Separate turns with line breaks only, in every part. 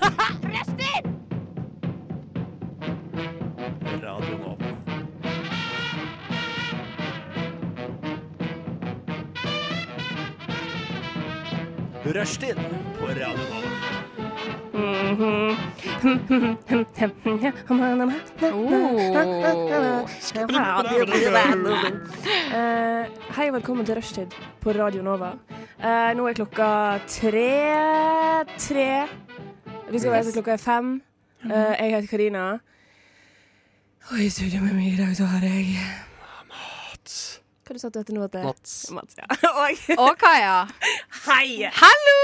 Prestin!
Radio Nova. Rushtid på Radio Nova.
Eh, Hei og velkommen til Rushtid på Radio Nova. Eh, nå er klokka tre tre. Vi skal være til klokka er fem. Eh, jeg heter Karina. Og i studio med meg i dag så har jeg Hva du sa du heter nå? at det-
Mats.
Mats ja. Og
Og Kaja.
hei!
Hallo!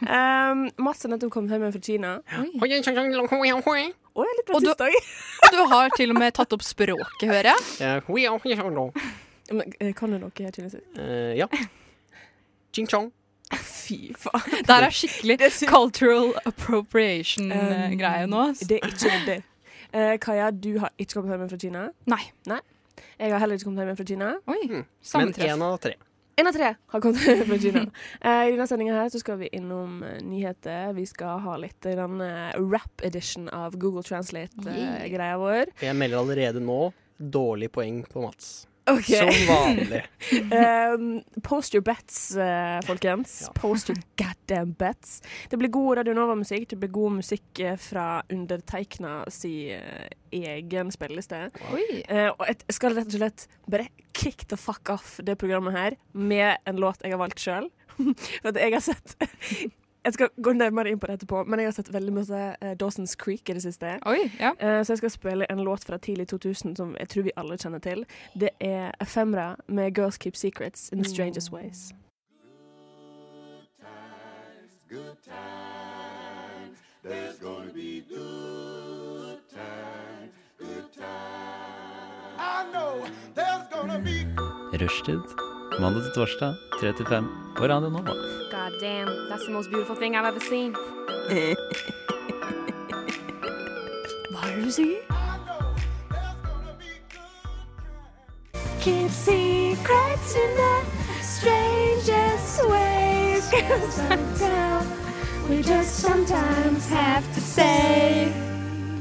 Um, Mats har nettopp kommet hjem igjen fra Kina. Og jeg er litt
Og du-
rasist òg.
Du har til og med tatt opp språket, hører jeg.
Eh, hui, ja, hui, ja, lo.
Men, eh, Kan du noe kinesisk?
Eh, Ja. Ching chong.
Fy faen.
Det Um, her er skikkelig cultural appropriation-greie nå. ass.
Det er ikke ryddig. Eh, Kaja, du har ikke kommet hjem fra Kina.
Nei.
Jeg har heller ikke kommet hjem fra Kina.
Oi.
Men
Sammentreff.
én av tre.
En av tre har kommet hjem fra Kina. Eh, I denne sendingen her så skal vi innom eh, nyheter. Vi skal ha litt eh, den eh, rap-edition av Google
Yeah.
Translate-greia vår.
Jeg melder allerede nå dårlig poeng på Mats.
Ok.
Som vanlig.
Um, post your bets, eh, folkens.
Ja.
Post your goddamn bets. Det blir god Radio Nova-musikk. Det blir god musikk eh, fra undertegna si eh, egen spilleliste.
Oi.
Eh, og jeg skal rett og slett bare kick the fuck off det programmet her med en låt jeg har valgt sjøl. For at jeg har sett Jeg skal gå nærmere inn på det etterpå, men jeg har sett veldig mye eh, Dawson's Creek i det siste.
Oi, ja.
Eh, Så jeg skal spille en låt fra tidlig 2000 som jeg tror vi alle kjenner til. Det er Ephemera med 'Girls Keep Secrets in the Strangest Ways'.
Rushtid. Mandag til torsdag, 3 til 5 på Radio Nova.
God damn, that's the most beautiful thing I've ever seen.
Hva er det du sier?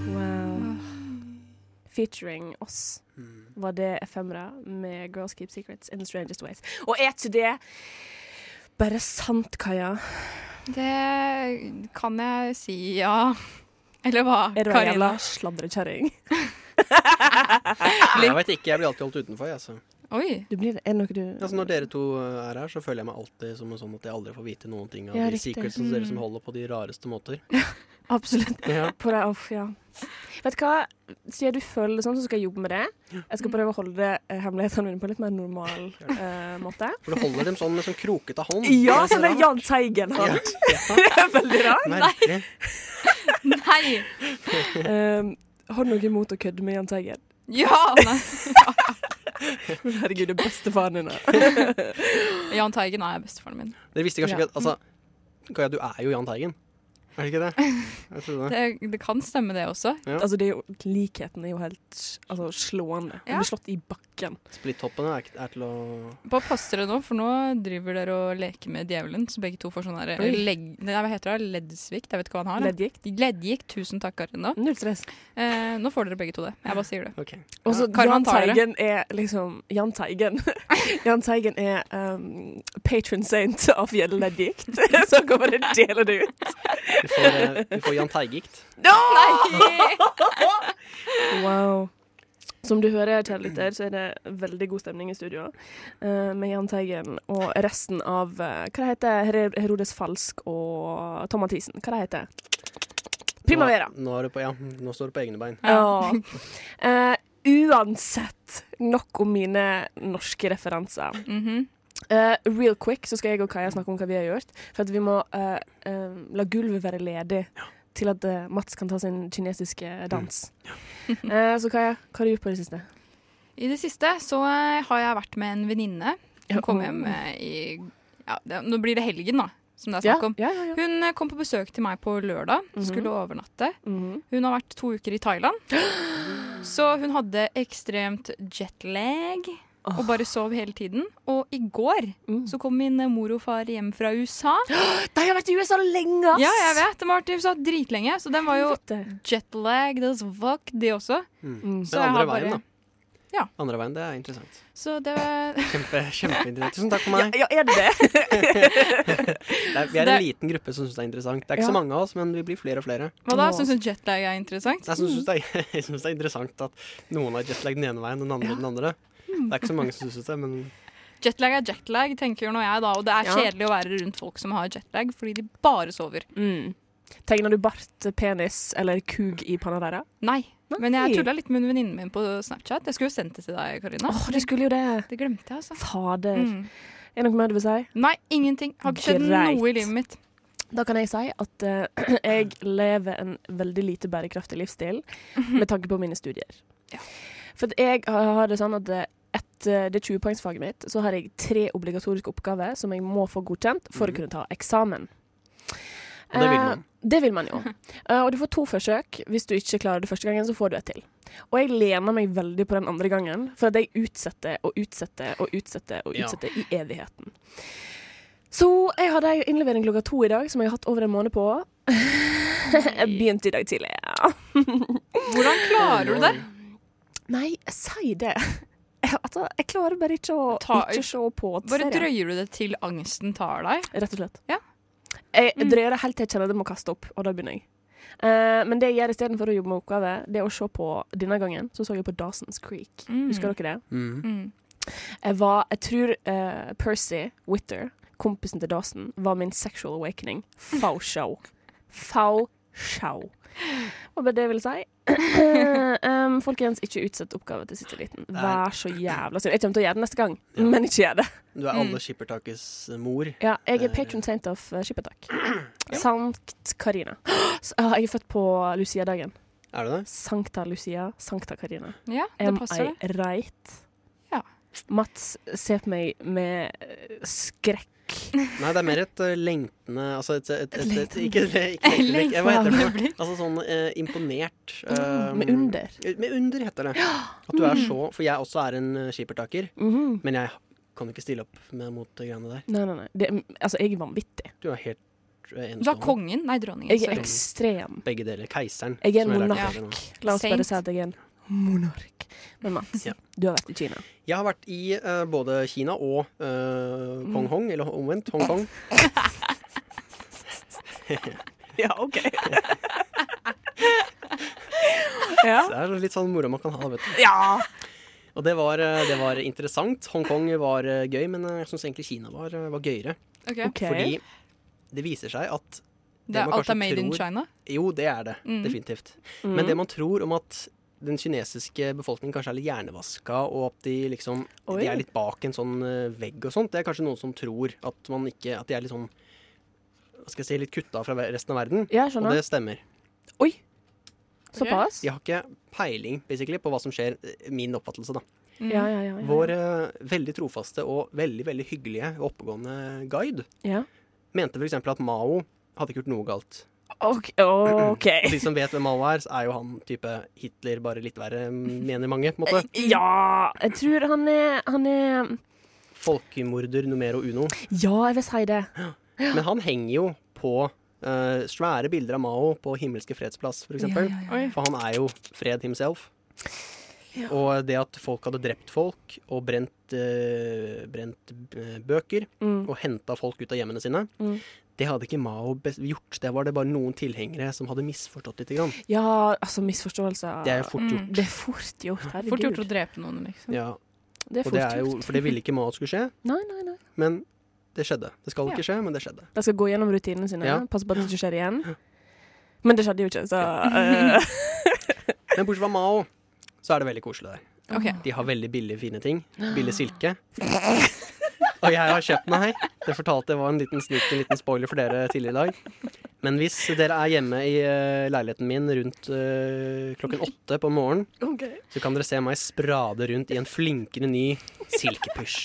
Wow. Featuring oss var det Ephemera med 'Girls Keep Secrets in the Strangest Ways'. Og er ikke det bare sant, Kaja?
Det kan jeg si ja. Eller hva,
Er du en
Karina?
jævla sladrekjerring?
Jeg vet ikke, jeg blir alltid holdt utenfor. Jeg, så.
Oi.
Du blir det. Er det noe du
Altså, når dere to eh, er her, så føler jeg meg alltid som en sånn at jeg aldri får vite noen ting av
Ja,
de
riktig. Mm.
secretsene dere som holder på de rareste måter.
Absolutt.
Ja.
På det, uff, ja. Vet du hva, siden du føler det sånn, så skal jeg jobbe med det. Jeg skal prøve å holde eh, hemmelighetene mine på en litt mer normal eh, måte.
For du holder dem sånn med sånn krokete hånd.
Ja,
Det er så
sånn er
rart.
Jahn Teigen han.
Ja,
Det er veldig rart.
merkelig.
Nei!
Um, har du noe imot å kødde med Jahn Teigen?
Ja! Nei.
Men Herregud, det er bestefaren din her.
Jahn Teigen er bestefaren min.
Dere visste kanskje
Ja.
ikke at altså, Kaja, du er jo Jahn Teigen. Er det ikke det? Jeg trodde det.
Det, det kan stemme, det også.
Ja.
Altså, det er jo, likheten er jo helt altså, slående. Han
Ja.
blir slått i bakken.
Splitthoppene er, ikke- er til å
Bare pass dere nå, for nå driver dere og leker med djevelen. Så begge to får sånn der
Oi.
legg... Nei, hva heter det? Leddsvikt? Jeg vet ikke hva han har. da.
Leddgikt.
Leddgikt. Tusen takk, Karin. Da.
Null stress.
Eh, nå får dere begge to det. Jeg bare sier det.
OK.
Og så
Karma
Jahn
tar det.
Teigen er liksom Jahn Teigen. Jahn Teigen er um, patron saint av Gjelleddgikt, så han kan bare dele det ut.
Vi får, eh, vi får Jahn Teigikt.
Nei!
Wow. Som du hører, kjære lytter, så er det veldig god stemning i studio eh, med Jahn Teigen og resten av eh, Hva det heter Her- Herodes Falsk og Tom Mathisen? Hva det heter Primavera.
Nå, nå, er du på, ja, nå står du på egne bein.
Ja. Eh, uansett, nok om mine norske referanser.
Mhm.
Eh, real quick så skal jeg og Kaja snakke om hva vi har gjort. For at vi må eh, eh, la gulvet være ledig til at eh, Mats kan ta sin kinesiske dans. Eh, så Kaja, hva har du gjort på det siste?
I det siste så eh, har jeg vært med en venninne. Hun kom hjem eh, i ja, det, Nå blir det helgen, da, som det er
Ja,
snakk om.
ja, ja, ja.
Hun eh, kom på besøk til meg på lørdag. Skulle overnatte.
Mhm.
Hun har vært to uker i Thailand. Så hun hadde ekstremt jetlag. og bare sov hele tiden. Og i går
Mm.
så kom min eh, mor og far hjem fra USA.
De har vært i USA lenge, ass!
Ja, jeg vet, de har vært i USA dritlenge, så den var jo
Helvete.
jetlagged as fuck, de også.
Mm.
Så
Men
jeg har
andre veien,
bare-
da.
Ja.
Andre veien, det er interessant.
Så det var
Kjempe, Kjempeinteressant. Tusen takk for meg.
Ja, er det det?
Det er, vi er
Det-
en liten gruppe som syns det er interessant. Det er ikke
Ja.
så mange av oss, men vi blir flere og flere.
Hva da? Syns du jetlag er interessant?
Nei, Jeg syns det, er- jeg synes det er interessant at noen har jetlag den ene veien, den andre den andre.
Mm.
Det er ikke så mange som syns det, men
Jetlag er jetlag, tenker nå jeg da, og det er
Ja.
kjedelig å være rundt folk som har jetlag, fordi de bare sover.
Mm. Tegner du bart, penis eller kug i panna deres?
Nei.
Nei.
Men jeg tulla litt med venninnen min på Snapchat. Jeg skulle jo sendt det til deg, Karina.
Åh, du skulle jo det.
Det glemte jeg, altså.
Fader.
Mm.
Er det noe mer du vil si?
Nei, ingenting. Har ikke skjedd
Greit.
noe i livet mitt.
Da kan jeg si at eh, jeg lever en veldig lite bærekraftig livsstil
Mhm.
med tanke på mine studier.
Ja.
For at jeg har har det sånn at eh, etter det 20-poengsfaget mitt, så har jeg tre obligatoriske oppgaver som jeg må få godkjent for å kunne ta eksamen.
Mhm. Og det vil
Eh,
man.
det vil man jo. Eh, og du får to forsøk. Hvis du ikke klarer det første gangen, så får du et til. Og jeg lener meg veldig på den andre gangen, for at jeg utsetter og utsetter og utsetter og
Ja.
utsetter i evigheten. Så jeg hadde jo innlevering klokka to i dag, som jeg har hatt over en måned på. jeg begynte i dag tidlig. Ja.
Hvordan klarer du det?
Nei, si det. Jeg, altså, jeg klarer bare ikke å
Ta-
ikke se på
Bare
serien.
drøyer du det til angsten tar deg?
Rett og slett.
Ja. Mm.
Jeg drøyer det helt til jeg kjenner det må kaste opp, og da begynner jeg. Eh, men det jeg gjør istedenfor å jobbe med oppgaver, det er å se på denne gangen. Så så jeg på Dawson's Creek.
Mm.
Husker dere det?
Mm.
Mm.
Jeg var, jeg tror eh, Percy Witter, kompisen til Dawson, var min sexual awakening. Fau show. Fau show. Hva var det jeg ville si? um, folkens, ikke utsett oppgave til siste liten. Vær så jævla snill. Jeg kommer til å gjøre det neste gang,
Ja.
men ikke gjør det.
Du er
Mm.
alle skippertakes mor.
Ja, jeg
Det
er
er-
patron saint of uh, Skippertak. Sankt Karina. Så, ah, jeg er født på Lucia-dagen.
Er du det?
Sankta Lucia, Sankta Karina.
Ja, det
Am
passer,
I
det.
right?
Ja.
Mats ser på meg med eh, skrekk.
Nei, det er mer et eh, lengtende Altså et, et, et, et,
Lengtende. Mm,
Ikke le- ikke lengtende blikk. Eh, Hva heter det? for noe?
Blikk.
Altså sånn eh, imponert. eh,
Med under. Mm.
Med under, heter det. At du er så For jeg også er en eh, skippertaker, men jeg kan ikke stille opp med, mot de greiene der.
Mhm. Nei, nei, nei. Det, altså, jeg er vanvittig.
Du er helt eh,
Du er
enestående.
kongen, nei dronningen.
Jeg er
sorry.
ekstrem.
Begge deler. Keiseren.
Jeg er
som
en
lærte
monark.
av dere nå.
La oss bare
Saint.
si at jeg er en monark. Men Mats,
Ja.
du har vært i Kina.
Jeg har vært i eh, både Kina og eh,
Mm.
Kong Hong, eller omvendt Hongkong.
Ja, OK. ja.
Det er litt sånn moro man kan ha, vet du.
ja.
Og det var, eh, det var interessant. Hongkong var eh, gøy, men eh, jeg syns egentlig Kina var, eh, var gøyere.
Ok.
OK.
Fordi det viser seg at
Det er
man
alt
kanskje
er made in
tror-
China.
Jo, det er det.
Mm.
Definitivt.
Mm.
Men det man tror om at den kinesiske befolkningen kanskje er litt hjernevaska, og at de liksom
Oi.
De er litt bak en sånn eh, vegg og sånt, det er kanskje noen som tror at man ikke At de er litt sånn Hva skal jeg si, litt kutta fra ve- resten av verden.
Ja,
Sånn
Og
skjønner.
det stemmer.
Såpass?
De har ikke peiling basically på hva som skjer, eh, min oppfattelse, da.
Mm.
Ja, ja, ja. ja.
Vår eh, veldig trofaste og veldig veldig hyggelige og oppegående guide
ja.
mente f.eks. at Mao hadde ikke gjort noe galt.
OK. ok.
Og de som vet hvem Mao er, så er jo han type Hitler, bare litt verre, mener mange. på en måte.
Ja, jeg tror han er, han er
Folkemorder numero uno.
Ja, jeg vil si det.
Men han henger jo på eh, svære bilder av Mao på Himmelske fredsplass, for eksempel.
Ja, ja,
Oi.
For han er jo fred himself. Og det at folk hadde drept folk og brent, eh, brent eh, bøker
Mm.
og henta folk ut av hjemmene sine,
Mm.
det hadde ikke Mao bes- gjort. Det var det bare noen tilhengere som hadde misforstått lite grann.
ja altså misforståelser
Det er jo fort gjort.
Mm.
Det er fort gjort. Herregud.
Fort gjort å drepe noen, liksom.
Ja,
Mm. Det er
og
fort
det er jo,
gjort.
for det ville ikke Mao at skulle skje,
Nei, nei, nei.
men det skjedde. Det skal
Ja.
ikke skje, men det skjedde.
De skal gå gjennom rutinene sine.
Ja.
Passe på at det ikke skjer igjen. Men det skjedde jo ikke, så eh,
Men bortsett fra Mao, så er det veldig koselig der.
Ok.
De har veldig billige, fine ting. Billig silke. Og jeg har kjøpt meg. Det fortalte jeg var en liten sneak, en liten spoiler for dere tidligere i dag. Men hvis dere er hjemme i eh, leiligheten min rundt eh, klokken åtte på morgenen, så kan dere se meg sprade rundt i en flinkere ny silkepysj.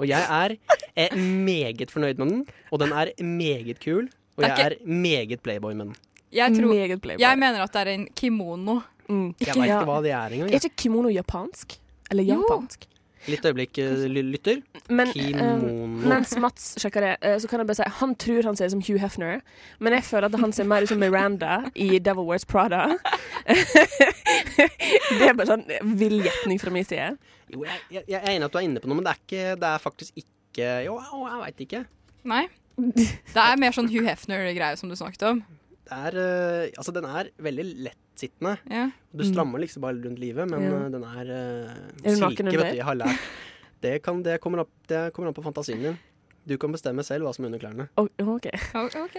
Og jeg er, eh, meget fornøyd med den, og den er meget kul. Og
Det er
jeg er meget playboy med den.
Jeg, tror,
Meget playboy.
jeg mener at det er en kimono.
Mm.
Jeg veit
Ja.
ikke hva det er engang.
Er
jeg.
ikke kimono japansk? Eller
Jo.
japansk?
Litt øyeblikk, eh, ly- lytter.
Men,
ehm,
eh,
Kimono.
mens Mats sjekker det, eh, så kan jeg bare si han tror han ser ut som Hugh Hefner, men jeg føler at han ser mer ut som Miranda i Devil Wears Prada. det er bare sånn vill gjetning fra min side.
Jo, jeg, jeg, jeg er enig i at du er inne på noe, men det er, ikke, det er faktisk ikke Jo, au, jeg veit ikke.
Nei. Det er mer sånn Hugh Hefner-greie som du snakket om.
Det er, eh, altså, den er veldig lettsittende.
Ja.
Du strammer liksom bare rundt livet, men
Mm. Ja.
eh, den er
Er
uh,
du naken
silke,
under?
vet du. Jeg har lært. Det, kan, det, kommer opp, det kommer an på fantasien din. Du kan bestemme selv hva som er under klærne.
Å, OK.
O- ok.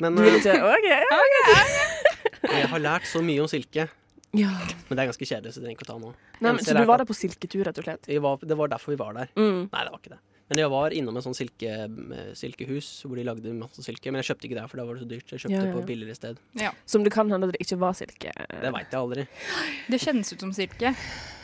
Men
Du vil
eh,
ikke OK.
jeg har lært så mye om silke.
Ja.
Men det er ganske kjedelig, så det trenger jeg ikke å ta nå.
Nei, men, så du var der på silketur, rett og slett?
Vi var, det var derfor vi var der.
Mm.
Nei, det var ikke det. Men jeg var innom et sånt silke, eh, silkehus hvor de lagde masse silke. Men jeg kjøpte ikke der, for da var det så dyrt. Jeg kjøpte
Ja, ja,
på
ja.
et billigere sted.
Som det kan hende at det ikke var silke.
Det veit jeg aldri.
Det kjennes ut som silke.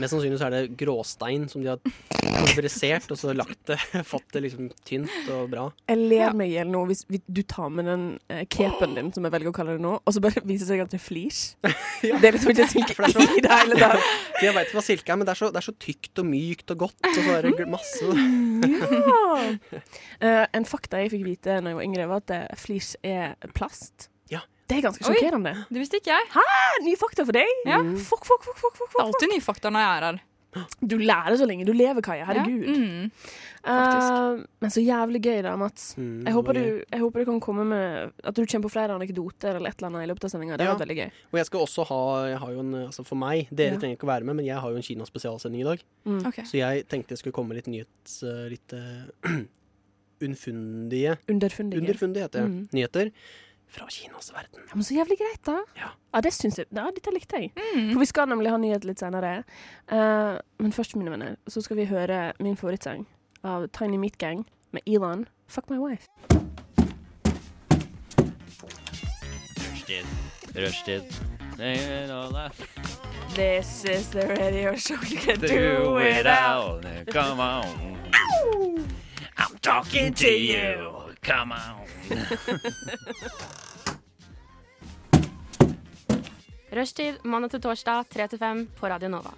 Mest sannsynlig så er det gråstein som de har pulverisert, og så lagt det, fått det liksom tynt og bra.
Jeg ler
Ja.
meg i hjel nå hvis vi, du tar med den eh, capen din, som jeg velger å kalle det nå, og så bare viser det seg at det er flis. Det er liksom ikke
For det
silke
er sånn. så-
i det hele tatt.
For jeg veit ikke hva silke er, men det er, så, det er så tykt og mykt og godt. Og så er det gl- masse
Mhm. Eh, en fakta jeg fikk vite da jeg var yngre, var at eh, flis er plast.
Ja.
Det er ganske
Oi.
sjokkerende.
Det visste ikke jeg.
Eh, Ny fakta for deg!
Ja.
Mm.
Fuck, fuck, fuck, fuck, fuck,
Det er
fuck.
alltid nye fakta når jeg er her.
Du lærer så lenge du lever, Kaja. Herregud.
Ja. Mm.
Eh, men så jævlig gøy da, Mats.
Mm,
Jeg håper,
det var gøy.
du, jeg håper du kan komme med At du kommer på flere anekdoter eller et eller annet i løpet av sendinga. Det
Ja.
hadde vært veldig gøy.
Og jeg skal også ha, jeg har jo en, altså for meg, dere
Ja.
trenger ikke å være med, men jeg har jo en Kina-spesialsending i dag.
Mm.
Ok.
Så jeg tenkte jeg skulle komme med litt nyhets... eh, Litt eh, unnfundige
Underfundige.
Underfundige heter det.
Mm.
Nyheter fra Kinas verden.
Ja, men så jævlig greit, da.
Ja.
det syns jeg. Ja, dette likte jeg. For vi skal nemlig ha nyhet litt senere. Eh, men først, mine venner, så skal vi høre min favorittsang av Tiny Meat Gang med Elon. Fuck my wife.
Rushtid. Rushtid. Come
This is the radio show you can
on. Come on. I'm talking to you. Come on.
Rushtid mandag til torsdag 3 til 5 på Radio Nova.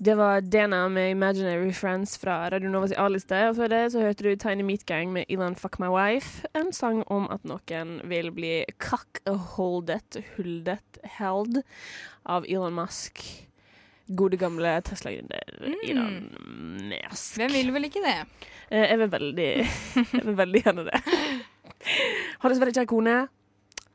Det var Dana med Imaginary Friends fra Radio Novas A-liste. Og før det så hørte du Tiny Meat Gang med Elon Fuck My Wife. En sang om at noen vil bli cuckoldet, huldet, held av Elon Musk. Gode gamle Tesla-gründer Elon Musk.
Hvem vil vel ikke det?
Eh, Jeg vil veldig, jeg vil veldig gjerne det. Har dessverre ikke ei kone.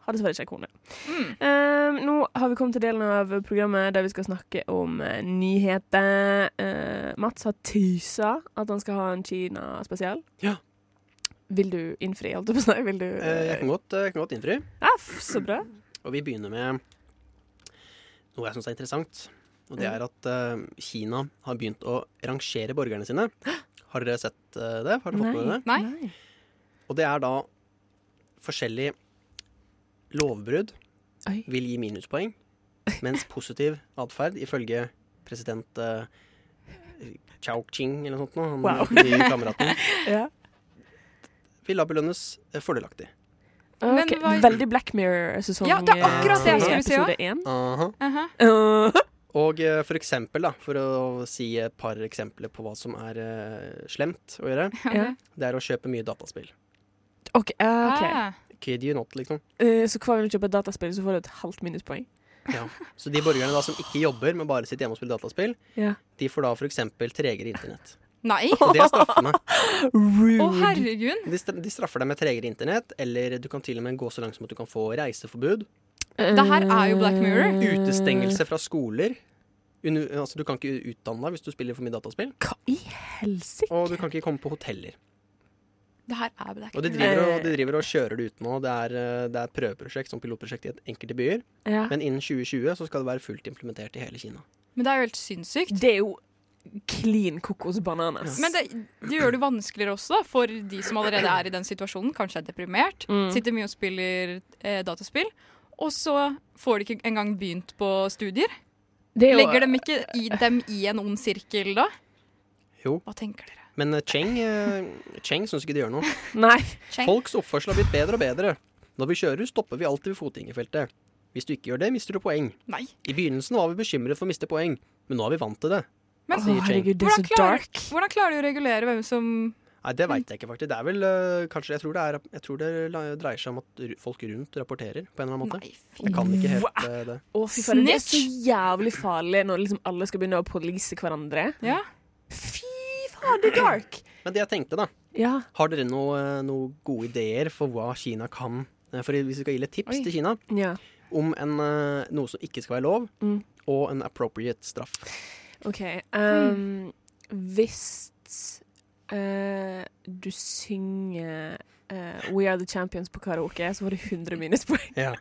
Har dessverre ikke ei kone.
Mm.
Eh, nå har vi kommet til delen av programmet der vi skal snakke om eh, nyheter. Eh, Mats har tysa at han skal ha en Kina-spesial.
Ja.
Vil du innfri, holdt jeg på å si? Vil du
Eh, Jeg kan godt, eh, jeg kan godt innfri.
Ja, f- så bra.
Og vi begynner med noe jeg syns er interessant. Og det er at eh, Kina har begynt å rangere borgerne sine. Har dere sett eh, det? Har dere fått med dere det?
Nei.
Og det er da forskjellige lovbrudd
Oi.
vil gi minuspoeng, mens positiv atferd ifølge president uh, Chao Ching eller noe sånt, nå, han
Wow.
nye kameraten,
Ja.
vil da belønnes eh, fordelaktig.
Men
Ok,
hva-
Veldig Black Mirror sesong
Ja, det er akkurat
det jeg
skulle si
episode én.
Aha.
Aha.
Eh,
Og eh, for eksempel, da, for å si et par eksempler på hva som er eh, slemt å gjøre,
ja.
det er å kjøpe mye dataspill.
OK. ja, ok.
Ah.
Kid you not, liksom.
Eh, så hver gang du kjøper et dataspill, så får du et halvt minuspoeng.
Ja. Så de borgerne da som ikke jobber, men bare sitter hjemme og spiller dataspill,
Ja.
de får da for eksempel tregere internett.
Nei.
Og det er straffene.
Å, herregud.
De, stra- de straffer deg med tregere internett, eller du kan til og med gå så langt som at du kan få reiseforbud.
Det her er jo Black Mirror.
Eh,
Utestengelse fra skoler. Unu- altså, du kan ikke utdanne deg hvis du spiller for mye dataspill.
Hva i helsike?
Og du kan ikke komme på hoteller.
Det her er Black
Og de
Mirror.
driver og, de driver og kjører det ut nå. Det er, eh, det er et prøveprosjekt som pilotprosjekt i et- enkelte byer.
Ja.
Men innen 2020 så skal det være fullt implementert i hele Kina.
Men det er jo helt sinnssykt.
Det er jo clean kokos bananas.
Men det, det gjør det jo vanskeligere også da, for de som allerede er i den situasjonen, kanskje er deprimert,
Mm.
sitter mye og spiller eh, dataspill, og så får de ikke engang begynt på studier.
Det er jo-
Legger dem ikke i, dem i en ond sirkel da?
Jo.
Hva tenker dere?
Men eh, Cheng, eh, Cheng syns ikke det gjør noe.
Nei.
Cheng.
Folks oppførsel har blitt bedre og bedre. Når vi kjører, stopper vi alltid ved fotgjengerfeltet. Hvis du ikke gjør det, mister du poeng.
Nei.
I begynnelsen var vi bekymret for å miste poeng, men nå er vi vant til det.
Men
Å, herregud, det er
Hvordan
så
klarer-
dark.
Hvordan klarer du å regulere hvem som
Nei, det
Mm.
veit jeg ikke, faktisk. Det er vel øh, kanskje Jeg tror det, er, jeg tror det la- dreier seg om at ru- folk rundt rapporterer på en eller annen måte.
Nei, fy.
Jeg kan ikke helt øh, det.
Å, fy faen, det er så
Snitch.
jævlig farlig når liksom alle skal begynne å polise hverandre.
Ja.
Fy faen, det er dark!
Men det jeg tenkte, da.
Ja.
Har dere noen noe gode ideer for hva Kina kan Eh, For hvis vi skal gi litt tips
Oi.
til Kina
ja.
om en, eh, noe som ikke skal være lov,
Mm.
og en appropriate straff.
OK.
Hmm.
Um, hvis eh, du synger eh, We Are The Champions på karaoke, så får du 100 minuspoeng.
Ja.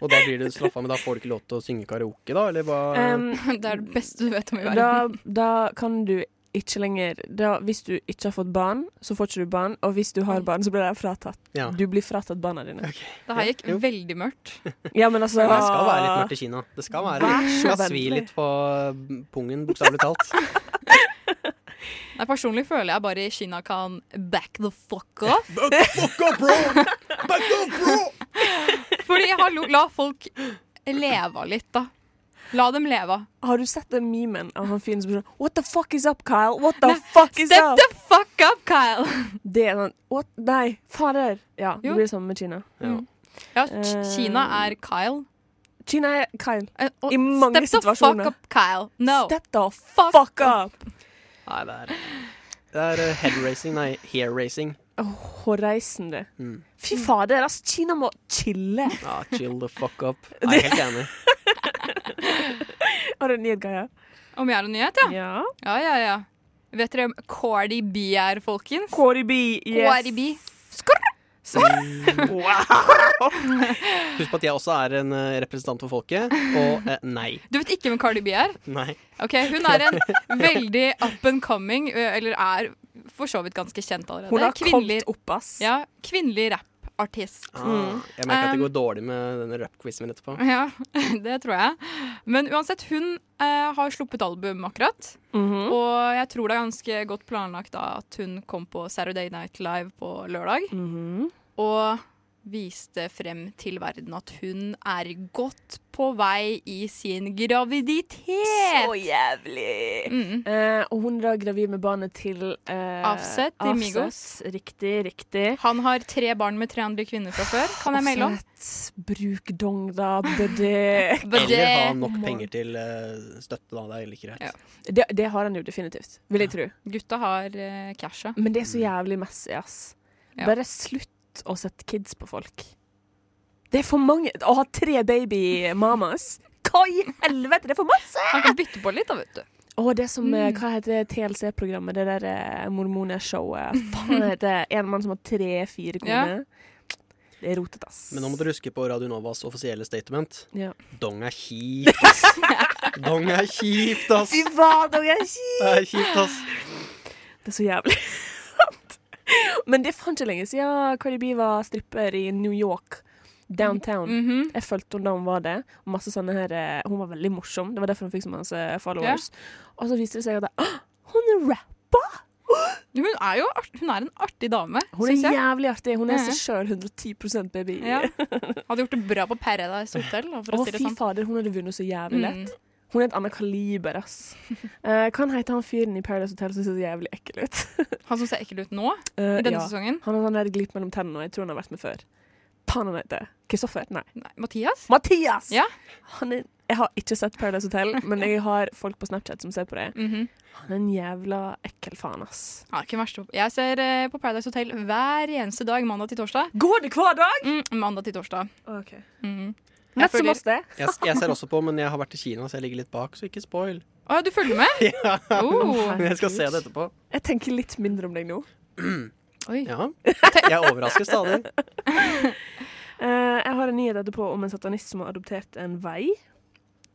Og da blir du straffa, men da får du ikke lov til å synge karaoke, da? Eller hva?
Um,
Det er det beste du vet om i
da,
verden.
da kan du ikke lenger da, Hvis du ikke har fått barn, så får ikke du barn. Og hvis du har barn, så blir de fratatt.
ja.
Du blir fratatt barna dine.
Det her gikk
Jo.
veldig mørkt.
Ja, men altså
Det skal være litt mørkt i Kina. Det skal, være,
Vær
det
så
skal svi
vennlig.
litt på mm, pungen, bokstavelig talt.
Nei, Personlig føler jeg bare Kina kan back the fuck off.
Back the fuck up, bro! Back up, bro!
Fordi hallo, la folk leve av litt, da. La dem leve. av.
Har du sett den memen av han fyren som blir sånn What the fuck is up, Kyle? What the fuck is
Step
up?
the fuck up, Kyle!
Det er sånn What? Nei, fader! Ja, det
Jo.
blir det samme med Kina.
Ja.
Ja, K-
Eh.
Kina er Kyle.
Kina er Kyle.
Eh, og
I mange
Step the
situasjoner.
fuck up, Kyle. No.
Step the
Fuck
fuck, up!
Nei, det er, det er eh, head racing, nei, hair racing.
Hårreisende.
Mm.
Fy fader, ass, Kina må chille.
Ja, chill the fuck up. Nei, jeg er helt enig.
Har du en nyhet, Gaia?
Om jeg har en nyhet, ja?
Ja.
Ja, ja, ja. Vet dere hvem Cardi B er, folkens?
Kori B. Yes.
Cardi B.
Husk på at jeg også er en eh, representant for folket, og eh, nei.
Du vet ikke hvem Cardi B er?
Nei.
Ok, Hun er en veldig up and coming, ø, eller er for så vidt ganske kjent allerede.
Hun har
kvinnelig,
kommet opp, ass.
ja, kvinnelig rappartist.
Ah,
Mm.
jeg merker at det går dårlig med denne rap-quizen min etterpå.
Ja, det tror jeg. Men uansett, hun eh, har sluppet album akkurat.
Mhm.
Og jeg tror det er ganske godt planlagt da at hun kom på Saturday Night Live på lørdag.
Mhm.
Og viste frem til verden at hun er godt på vei i sin graviditet.
Så jævlig!
Mm.
Eh, og hun er da gravid med barnet til eh,
Offset i Migos.
Riktig, riktig.
Han har tre barn med tre andre kvinner fra før, kan jeg melde om.
Offset, bruk dong, da, buddy.
But
Eller ha
det-
nok penger til eh, støtte, da. Det er like greit.
Ja.
Det, det har han jo definitivt, vil jeg tro.
Gutta har uh, casha.
Men det er så jævlig messy, ass.
Ja.
Bare slutt å sette kids på folk. Det er for mange å ha tre baby-mamas. Hva i helvete, det er for masse!
Han kan bytte på litt, da, vet du.
Å, det som eh, Hva heter det TLC-programmet? Det der eh, mormoneshowet. Faen, det heter En mann som har tre-fire koner. Det er rotet, ass.
Men nå må dere huske på Radio Novas offisielle statement.
Ja.
Dong er kjipt, ass. Dong er kjipt, ass.
Fy faen, dere er kjipe!
Det er kjipt, ass.
Det er så jævlig. Men det er faen ikke lenge siden Cardi B var stripper i New York. Downtown.
Mhm.
Jeg fulgte henne da hun var det. Og masse sånne her, eh, hun var veldig morsom. Det var derfor hun fikk så masse followers. Og så viste det seg at «Åh, hun er rapper!
Hun er jo art hun er en artig dame,
Hun
syns
er
jeg.
jævlig artig. Hun er
Mhm.
seg sjøl 110 baby.
Ja. Hadde gjort det bra på Paradise Hotel, da, for
Å,
å si det
fy
sånn.
fader, hun hadde vunnet så jævlig lett.
Mm.
Hun er et annet kaliber, ass. Eh, hva han heter han fyren i Paradise Hotel som ser så jævlig ekkel ut?
Han som ser ekkel ut nå,
Eh,
i denne
ja.
sesongen.
Han har sånn der glipp mellom tennene, og jeg tror han har vært med før. Faen, han heter Kristoffer? Nei.
Nei, Mathias?
Mathias!
Ja.
Han er, jeg har ikke sett Paradise Hotel, men jeg har folk på Snapchat som ser på det.
Mhm.
Han er en jævla ekkel faen, ass.
Ja, ikke verst. Jeg ser eh, på Paradise Hotel hver eneste dag, mandag til torsdag.
Går det hver dag?!
Mm, mandag til torsdag.
Ok.
Mhm.
Nett
føler-
som oss, det.
Jeg, jeg ser også på, men jeg har vært i Kina, så jeg ligger litt bak, så ikke spoil.
Å ja, du følger med?
Ja,
Oh.
men jeg skal se det etterpå.
Jeg tenker litt mindre om deg nå.
Oi.
Ja. Jeg overrasker stadig.
Eh, jeg har en nyhet etterpå om en satanist som har adoptert en vei.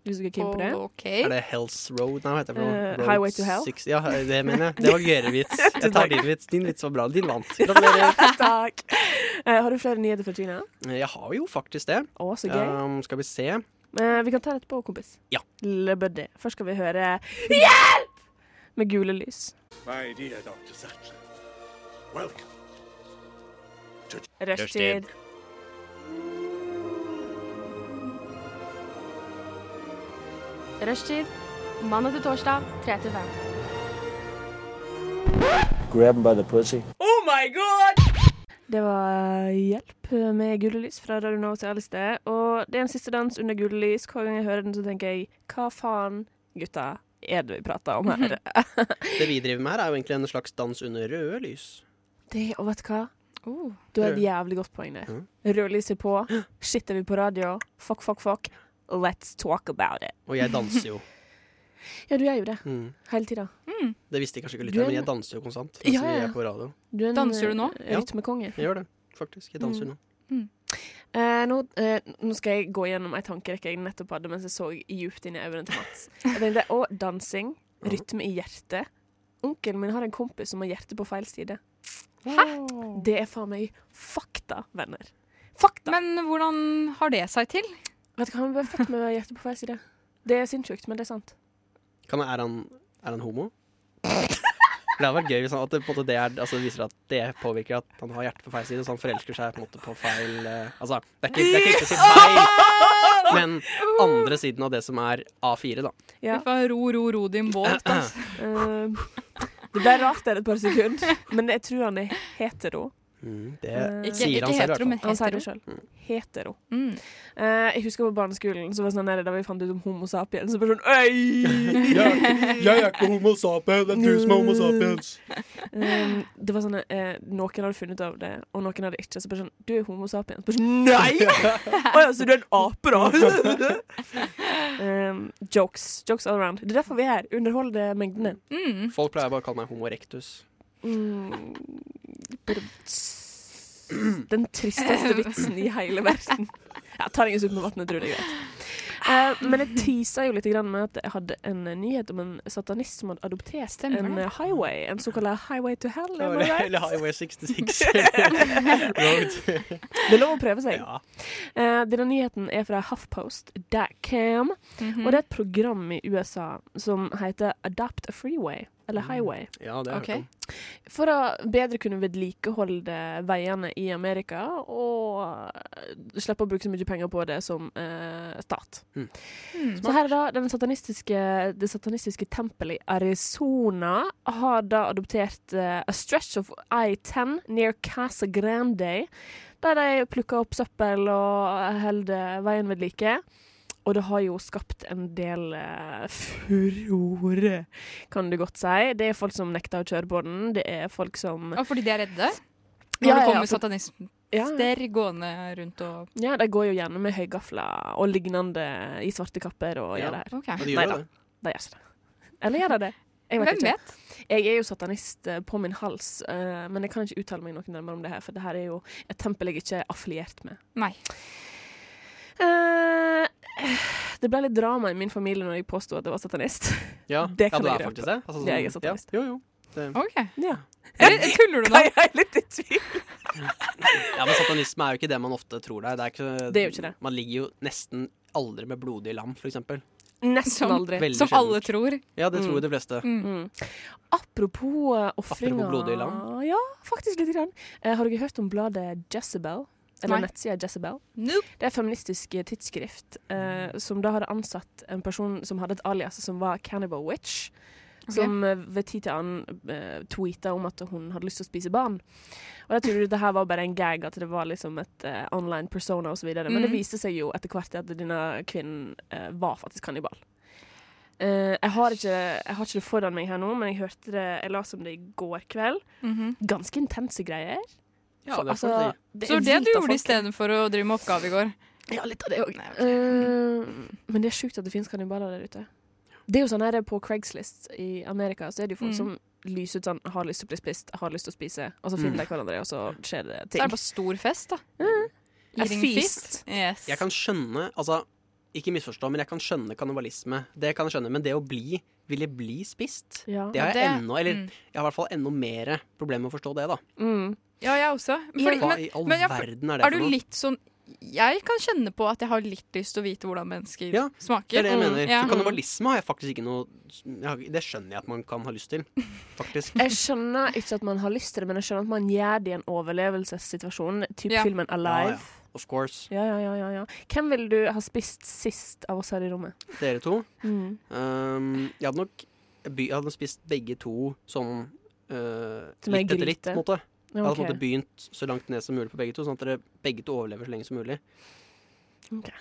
Hvis du er keen på det.
OK.
Er det Hells Road? Nei, hva heter det? for noe?
Eh,
Road
Highway to Hell?
Six- Ja, det mener jeg. Det var gøyere vits. Jeg tar din vits. Din vits var bra. Din vant. Gratulerer. Eh,
Takk. Eh, har du flere nyheter fra Kina?
Jeg har jo faktisk det.
Å, så gøy.
Um, skal vi se.
Eh, vi kan ta det etterpå, kompis.
Ja.
Le buddy. Først skal vi høre Hjelp! med gule lys.
My dear Dr. Satcher, welcome.
Rushtid.
Rushtid mandag til torsdag 3 til 5.
Grab him by the pussy.
Oh
Det var Hjelp med gule lys fra Radio Nova til alle steder. Og det er en siste dans under gule lys. Hver gang jeg hører den, så tenker jeg hva faen, gutta, er det vi prater om her?
Det vi driver med her, er jo egentlig en slags dans under røde lys.
Det, og vet du hva?
Oh.
Du har et jævlig godt poeng der. Rødlyset på, shit er vi på radio, fuck, fuck, fuck. Let's talk about it.
Og jeg danser jo.
Ja, du gjør jo det.
Mm.
Hele tida.
Mm.
Det visste jeg kanskje ikke litt,
Du er
men jeg
en-
danser jo konstant.
Ja,
Ja,
ja, ja.
Jeg er på radio.
Du er en
Danser du nå?
eh,
Ja.
rytmekonge.
Jeg gjør det, faktisk. Jeg danser
Mm.
nå.
Eh, nå, eh, nå skal jeg gå gjennom ei tankerekke jeg nettopp hadde mens jeg så djupt inn i øynene til Mats. Jeg tenkte, Å, dansing. Rytme i hjertet. Onkelen min har en kompis som har hjertet på feil side. Hæ? Det er faen meg fakta, venner. Fakta!
Men hvordan har det seg til?
Vet du hva, han ble født med hjertet på feil side. Det er sinnssykt, men det er sant.
Kan jeg, er, han, er han homo? For Det hadde vært gøy hvis han, at det, på en måte, det, er, altså, det viser at det påvirker at han har hjertet på feil side, så han forelsker seg på, en måte, på feil eh, Altså, det er ikke, det er ikke riktig å si feil, men andre siden av det som er A4, da.
Ja.
Fy faen, Ro, ro, ro din båt. Altså.
Eh, det ble rart der et par sekunder, men jeg tror han er hetero.
Mm, det
Eh,
Ikke,
sier
ikke
han selv, i hvert
hetero, men
Han sier
hetero.
det sjøl. Hetero.
Mm.
Eh, jeg husker på barneskolen så var det sånn der, da vi fant ut om Homo sapien. Så bare sånn Øy!
Jeg, jeg er ikke homo sapien, det er du som er homo sapiens.
Um, det var sånn eh, Noen hadde funnet ut av det, og noen hadde ikke. Så bare sånn Du er Homo sapien. Bare sånn, Nei! Å ja, så du er en ape, da? um, jokes. Jokes all around. Det er derfor vi er her. Underholde mengdene.
Mm.
Folk pleier bare å kalle meg homo rectus.
Mm. Den tristeste vitsen i hele verden. Jeg tar ingen sup med vann, jeg tror det er greit. Eh, men jeg teasa jo litt grann med at jeg hadde en eh, nyhet om en satanist som hadde adoptert
Stemmer
en
det.
eh, highway. En såkalt highway to hell. am I
Eller,
right?
eller Highway 66. Road.
Det er lov å prøve seg.
Ja.
Eh, denne nyheten er fra huffpost.com, og det er et program i USA som heter Adapt a Freeway, eller
Mm.
Highway.
ja, det er
Ok.
For å bedre kunne vedlikeholde veiene i Amerika, og eh, slippe å bruke så mye penger på det som eh, stat.
Mm.
Så her er da den satanistiske, det satanistiske tempelet i Arizona har da adoptert eh, A Stretch of I-10 near Casa Grande, der de plukker opp søppel og eh, holder veien ved like. Og det har jo skapt en del eh, furore, kan du godt si. Det er folk som nekter å kjøre på den. Det er folk som
Og fordi de er redde? Når
Ja, ja, ja,
det
Mm.
kommer
for-
satanister
ja,
gående rundt og
ja, de går jo gjerne med høygafler og lignende i svarte kapper og
Ja.
gjør det her.
OK.
Ja, de
Nei
gjør jo
da.
det.
De gjør ikke det. Eller gjør de det? Jeg vet
Hvem
ikke.
vet?
Jeg er jo satanist eh, på min hals, eh, men jeg kan ikke uttale meg noe nærmere om det her, for det her er jo et tempel jeg ikke er affiliert med.
Nei.
Eh, det ble litt drama i min familie når jeg påsto at jeg var satanist.
Ja,
Det kan jeg
ja, det er
gjøre.
faktisk det. Altså,
Det er jeg
sånn-
satanist.
Ja. Jo, jo.
OK.
Ja.
Eller tuller du nå?
Jeg er litt i tvil.
Ja, men satanisme er jo ikke det man ofte tror det er. Det er, ikke,
Det er jo ikke det.
Man ligger jo nesten aldri med blodige lam, for eksempel.
Nesten
Som-
aldri.
Veldig
Som alle
sjeldent.
tror.
Ja, det tror jo de fleste.
Mm. Apropos eh, ofringer
Apropos blodige lam.
Ja, faktisk lite grann. Eh, har dere hørt om bladet Jezebel? Eller
Nei.
nettsida Jezebel?
Nope.
Det er et feministisk eh, tidsskrift eh,
Mm.
som da hadde ansatt en person som hadde et alias som var Cannibal Witch. Som eh, ved tid til annen eh, tweeta om at hun hadde lyst til å spise barn. Og jeg trodde dette her var bare en gag, at det var liksom et eh, online persona osv. videre Men det
Mhm.
viste seg jo etter hvert at denne kvinnen eh, var faktisk kannibal. Eh, jeg, har ikke, jeg har ikke det foran meg her nå, men jeg hørte det, jeg leste om det i går kveld.
Mhm.
Ganske intense greier.
Ja,
For,
det er
altså,
folk, de.
det
Så
er
det
vilt
du
av
gjorde
folk.
istedenfor å drive med oppgave i går?
Ja, litt av det òg.
Nei, ok.
Eh, men det er sjukt at det finnes kannibaler der ute. Det er jo sånn her På Craigslist i Amerika Så er det jo folk
Mm.
som lyser ut sånn 'Har lyst til å bli spist, har lyst til å spise', og så finner de hverandre, og så skjer det
Så
ting.
er Mm. det bare stor fest, da.
A
Eating
feast.
Yes.
Jeg kan skjønne, altså ikke misforstå, men jeg kan skjønne kannibalisme. Det kan jeg skjønne, men det å bli, ville bli spist,
Ja.
det har jeg
Det-
ennå, eller
mm.
jeg har i hvert fall ennå mer problemer med å forstå det, da.
Mm.
Ja, jeg også. Men Fordi,
Hva
men,
i all
men ja, for-
verden er det
er du
for noe?
litt sånn jeg kan kjenne på at jeg har litt lyst til å vite hvordan mennesker
Ja, Det
smaker.
er det jeg
Mm,
mener.
ja.
Så Kannibalisme har jeg faktisk ikke noe jeg har, Det skjønner jeg at man kan ha lyst til, faktisk.
Jeg skjønner ikke at man har lyst til det, men jeg skjønner at man gjør det i en overlevelsessituasjon. Typ
Ja.
filmen Alive.
Of course.
Ja ja. ja, ja, ja. Hvem vil du ha spist sist av oss her i rommet?
Dere to.
Mm.
Um, jeg hadde nok by, jeg hadde spist begge to sånn uh,
Som en
litt etter litt,
gryte.
på en måte. Jeg hadde på en
Ok.
måte begynt så langt ned som mulig på begge to, sånn at dere begge to overlever så lenge som mulig.
Da,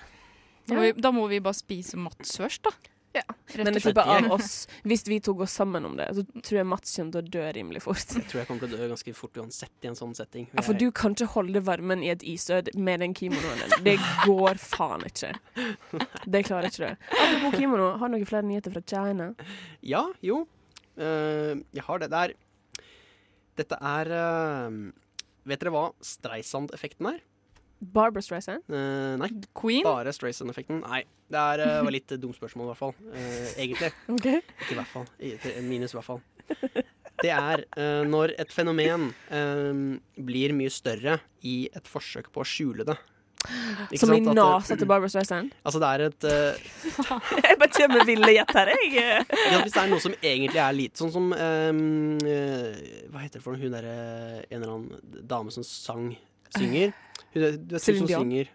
må vi, da må vi bare spise Mats først, da.
Ja.
Rett
Men
og
jeg
slett.
tipper av oss, hvis vi to går sammen om det, så tror jeg Mats kommer til å dø rimelig fort.
Jeg tror jeg kommer til å dø ganske fort uansett i en sånn setting.
Ja, for du kan ikke holde varmen i et isød med den kimonoen din. Det går faen ikke. Det klarer ikke du. Apropos kimono, har du noen flere nyheter fra China?
Ja, jo. Eh, jeg har det der. Dette er eh, Vet dere hva Streisand-effekten er?
Barbra Streisand?
Eh, nei,
Queen.
bare Streisand-effekten. Nei, Det er, eh, var litt dumt spørsmål, i hvert fall. Eh, egentlig.
Okay.
Ikke i hvert fall. I- til- Minus i hvert fall. Det er eh, når et fenomen eh, blir mye større i et forsøk på å skjule det. Ikke
Som i
sant? At, eh,
nasa til Barbra Streisand?
Altså, det er et eh,
Jeg bare kommer med ville gjett her, jeg.
Ja, hvis det er noe som egentlig er lite Sånn som ehm, eh, Hva heter det for noe? Hun der eh, En eller annen dame som sang Synger Hun, er- du vet, hun
Céline
som
Dion.
synger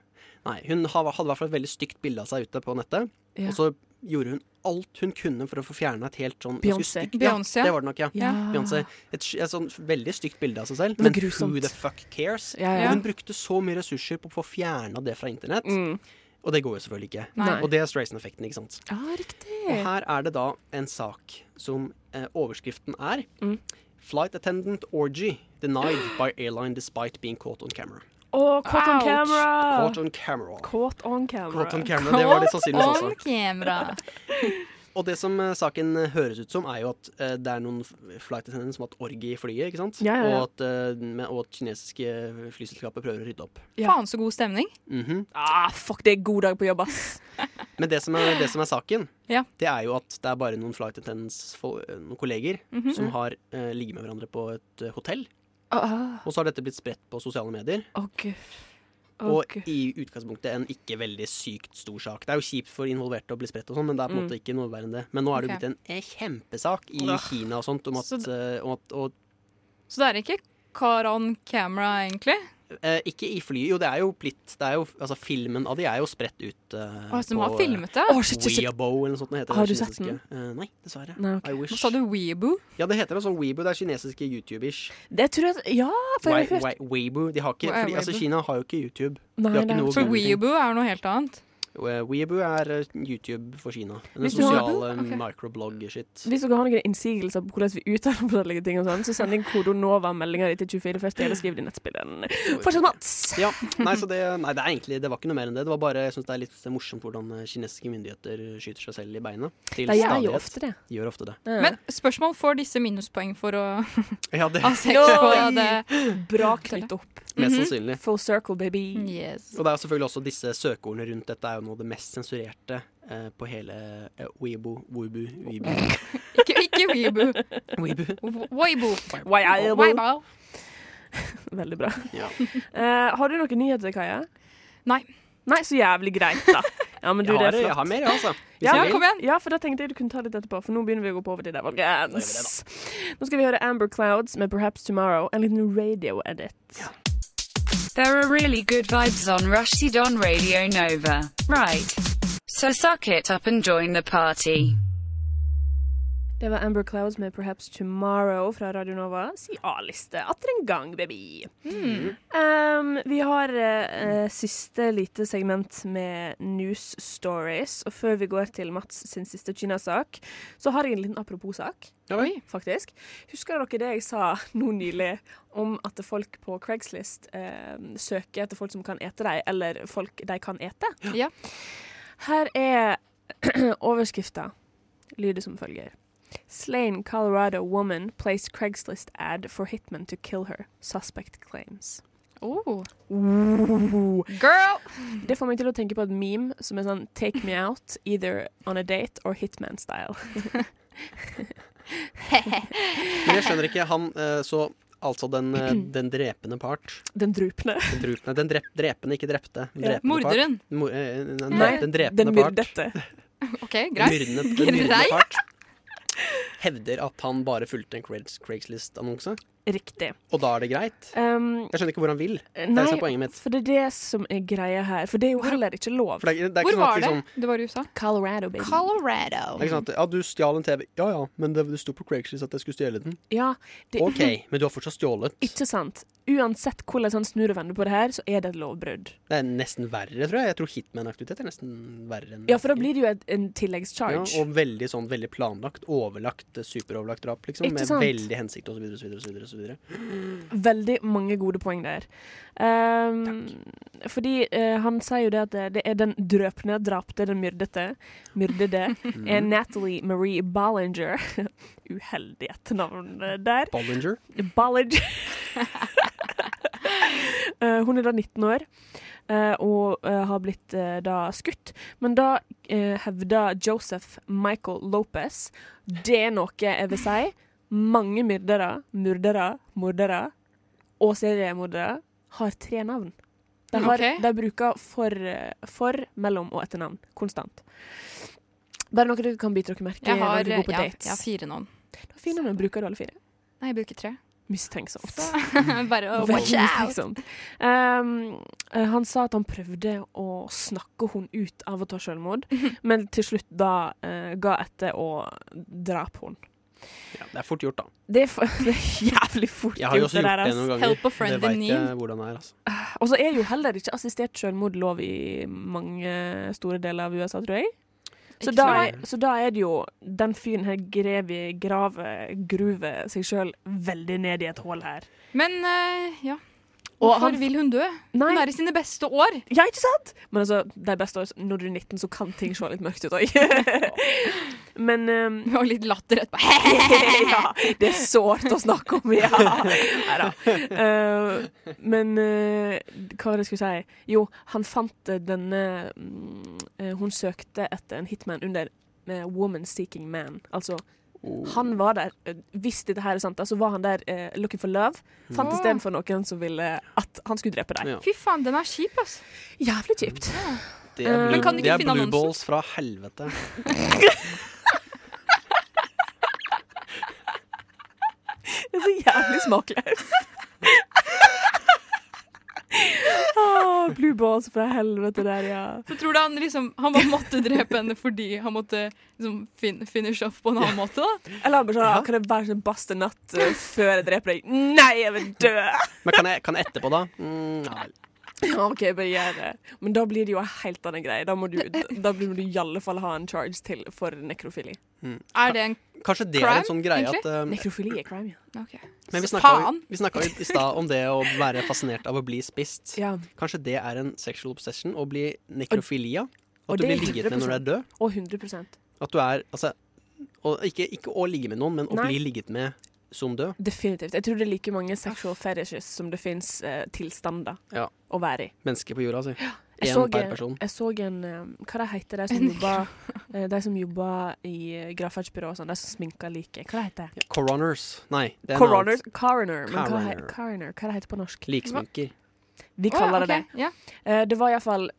Nei, hun har- hadde i hvert fall et veldig stygt bilde av seg ute på nettet
Ja.
Og så gjorde hun alt hun kunne for å få fjernet et helt sånn ganske
Beyoncé.
stygt-
Beyoncé.
Ja, det var det nok, ja
Ja.
Beyoncé. Et, sk- et sånn veldig stygt bilde av seg selv
Men
Men
grusomt.
who the fuck cares?
Ja,
Og
ja.
hun brukte så mye ressurser på å få fjernet det fra internett
Mm.
Og det går jo selvfølgelig ikke
Nei.
Og det er Streisand-effekten, ikke sant?
Ja, riktig.
Og her er det da en sak som eh, overskriften er
Mm.
Flight attendant orgy denied by airline despite being caught on camera.
Og caught on
Ouch.
camera.
Caught on camera.
Caught on camera.
Caught on camera, Det var altså. det sannsynligvis
On
også.
camera.
Og det som eh, saken eh, høres ut som, er jo at eh, det er noen f- flight attendants som har hatt orgie i flyet, ikke sant?
Ja, ja, ja.
Og, at, eh, men- og at kinesiske flyselskaper prøver å rydde opp.
Ja.
Faen så god stemning.
Mhm.
Ah, fuck, det er god dag på jobb, ass.
Men det som er, det som er saken,
Ja.
det er jo at det er bare noen flight attendants, fo- eh, noen kolleger,
Mhm.
som har eh, ligget med hverandre på et eh, hotell.
Å,
Og så har dette blitt spredt på sosiale medier.
Ah, gud.
Og i utgangspunktet en ikke veldig sykt stor sak. Det er jo kjipt for involverte å bli spredt, og sånn, men det er på en
Mm.
måte ikke noe verre enn det. Men nå er det jo
Ok.
blitt en eh, kjempesak i
Åh.
Kina og sånt om at,
Så det-
eh, om at og,
Så det er ikke car on camera, egentlig.
eh, Ikke i flyet, jo det er jo blitt det er jo, altså Filmen av de er jo spredt ut eh,
Å, som har
eh,
filmet det.
Å, shit, shit, shit.
Weibo eller noe sånt. det Heter
Har
det
du sett
kinesiske. Eh, nei, dessverre.
Nei, ok.
I
Hva
wish.
sa du? Weeboo?
Ja, det heter det sånn Weibo. Det er kinesiske YouTubers.
Det tror jeg Ja, for jeg har hørt
Wei- Wei- Weibo. De har ikke,
Wei-
fordi, altså,
Weibo.
Kina har jo ikke YouTube.
Nei,
har ikke
det er
noe
For
Google.
weeboo er noe helt annet.
Eh, Weibo er eh, YouTube for Kina. Den
Hvis du har-
sosiale
Ok.
microblog-shit.
Hvis dere har noen innsigelser på hvordan vi uttaler forskjellige ting, og sånn, så send inn kode NOVA-meldinga til 2440, eller skriv det i nettspilleren. Fortsett, Mats!
Ja, nei, så det, nei, det er egentlig Det var ikke noe mer enn det. Det var bare, Jeg syns det er litt morsomt hvordan eh, kinesiske myndigheter skyter seg selv i beinet. Til
De gjør jo
stadighet.
ofte det.
Gjør ofte det.
Men spørsmål får disse minuspoeng for å
Ja, det
ha sex
Oi!
på det.
bra knytt opp.
Mest sannsynlig.
Full circle, baby.
Yes.
Og det er selvfølgelig også disse søkeordene rundt dette er jo noe av det mest sensurerte eh, på hele eh, Weibo, Weibo, Weibo,
Ikke, ikke weeboo.
Weibo.
Weibo.
Waibo.
Weibo.
Veldig bra.
Ja.
Eh, har du noen nyheter, Kaja?
Nei.
Nei, så jævlig greit, da. Ja, men du,
Jeg
det er
har, jeg
flott.
har mer, jeg, altså. Hvis
Ja,
jeg
Ja,
vil.
kom igjen.
Ja, for da tenkte jeg du kunne ta litt etterpå, for nå begynner vi å gå på over til det, folkens. Nå skal vi høre Amber Clouds med 'Perhaps Tomorrow', en liten radio edit.
There are really good vibes on Rushdie on Radio Nova. Right. So suck it up and join the party.
Det var Amber Clouds med 'Perhaps Tomorrow' fra Radio Nova. Si A-liste atter en gang, baby. Um, vi har eh, eh, siste lite segment med news stories. Og før vi går til Mats sin siste Kina-sak, så har jeg en liten apropos-sak.
Ja, vel.
faktisk. Husker dere det jeg sa nå nylig om at folk på Craigslist eh, søker etter folk som kan ete dem, eller folk de kan ete?
Ja.
Her er overskrifta. Lyder som følger. Slain Colorado woman plays Craigslist ad for hitman to kill her. Suspect claims.
Oh. Girl!
Det får meg til å tenke på et meme som er sånn Take me out, either on a date or hitman style.
Men jeg skjønner ikke han eh, Så Altså den, eh, den drepende part.
Den drupne.
Den, drupne, den drep, drepende, ikke drepte. Den
Ja.
drepende
Morderen.
Part. Mor- eh, den,
Nei,
den drepende
Den
part.
myrdete.
OK,
Den
greit.
myrdende, den myrdende
Greit.
part. Hevder at han bare fulgte en Craigs, Craigslist-annonse,
Riktig.
og da er det greit.
Um,
Jeg skjønner ikke hvor han vil. Det er det som er
nei,
poenget mitt.
for det er det som er greia her. For det er jo heller ikke lov.
For det er, ikke- det er
Hvor
ikke sånn at
var det?
liksom,
Det var i USA.
Colorado, baby.
det er
Colorado.
ikke sånn at, ja, du stjal en TV. Ja ja, men det, det sto på Craigslist at jeg skulle stjele den.
Ja, det,
OK, men du har fortsatt stjålet.
Ikke sant. Uansett hvordan han snur og vender på det her, så er det et lovbrudd.
Det er nesten verre, tror jeg. Jeg tror hitman-aktivitet er nesten verre enn
Ja, for da blir det jo et, en tilleggscharge.
Ja, og veldig sånn, veldig planlagt, overlagt, eh, superoverlagt drap, liksom.
Ikke
Med
sant?
veldig hensikt osv. osv.
Veldig mange gode poeng der. Ehm, fordi eh, han sier jo det at det, det er den drøpne, drapte, den myrdete Myrdede er
Mm.
Natalie Marie Ballinger. Uheldig etternavn eh, der.
Bollinger.
Ballinger. Eh, hun er da 19 år eh, og eh, har blitt eh, da skutt. Men da uh, hevder Joseph Michael Lopez Det er noe jeg vil si. Mange myrdere, murdere, mordere og seriemordere har tre navn. De, har,
Ok.
de bruker for, eh, for, mellom og etternavn konstant. Bare noe dere kan bite dere merke i
Jeg har,
når dere
ja,
går på
jeg har
dates.
fire navn.
Da finner du, bruker du alle fire.
Nei, jeg bruker tre.
Mistenksomt.
Så bare å Oh, watch
Veldig
out.
mistenksomt. Um, eh, han sa at han prøvde å snakke hun ut av å ta selvmord,
Mhm.
men til slutt da eh, ga etter og drap hun.
Ja, det er fort gjort, da.
Det er, for, det er jævlig fort
Jeg har jo
gjort,
også
det
gjort
der.
det
Altså.
noen ganger.
Help a friend
det
in
vet
need.
jeg hvordan det er. Altså.
Og så er jo heller ikke assistert selvmord lov i mange store deler av USA, tror jeg. Så
Ikke
da,
sant?
er, så da er det jo den fyren her grev i grave, gruve seg sjøl veldig ned i et hull her.
Men eh, ja.
Og
Hvorfor
han-
vil hun dø?
Nei,
Hun er i sine beste år.
Ja, ikke sant? Men altså, de beste år, når du er 19, så kan ting se litt mørkt ut òg. Men ehm,
Og litt latter etterpå.
ja, det er sårt å snakke om, ja. Nei da. Eh, men eh, hva var det jeg skulle si? Jo, han fant eh, denne mm, eh, Hun søkte etter en hitman under eh, Woman Seeking Man. Altså, han var der. eh, Hvis dette her er sant, da, så var han der eh, looking for love. Fant istedenfor noen som ville at han skulle drepe deg.
Ja.
Fy faen, den er kjip, ass.
Jævlig kjipt.
Det er
Men
blue,
Eh, kan du ikke
det er
finne
blue
annonsen?
balls fra helvete.
Det er så jævlig smakløst. Åh, blue balls fra helvete der, ja.
Så tror du han liksom Han bare måtte drepe henne fordi han måtte liksom fin finish off på en annen måte, da?
Eller bare sånn, kan det være sånn baste natt eh, før jeg dreper deg? Nei, jeg vil dø!
Men kan jeg, kan jeg etterpå, da? Mm, ja vel.
Ja, ok, bare gjør det. Men da blir det jo en helt annen greie. Da må du, da blir du i alle fall ha en charge til for nekrofili.
Er det en
Kanskje det er
Crime,
en sånn greie
egentlig?
at eh,
Nekrofili er crime, ja.
OK.
Men vi
Så
snakka jo-
faen.
vi snakka jo i stad om det å være fascinert av å bli spist.
Ja,
Kanskje det er en sexual obsession å bli nekrofilia?
og
At du
det
blir
er
ligget med når du er
100%.
død?
og 100
At du er Altså, og ikke, ikke å ligge med noen, men å
Nei.
bli ligget med som død.
Definitivt. Jeg tror det er like mange sexual fetishes som det fins eh, tilstander
Ja.
å være i.
Mennesker på jorda, altså.
Jeg
Én
så,
per person.
Jeg så en um, Hva det heter de som jobber eh, De som jobber i eh, gravferdsbyrå og sånn, de som sminker liket. Hva det heter det?
Coroners. Nei, det er
Coroner.
en annen.
Coroner. Men hva, he
Coroner.
coroner. hva det heter det på norsk?
Liksminker.
Vi kaller det det.
Ja.
Eh, det var iallfall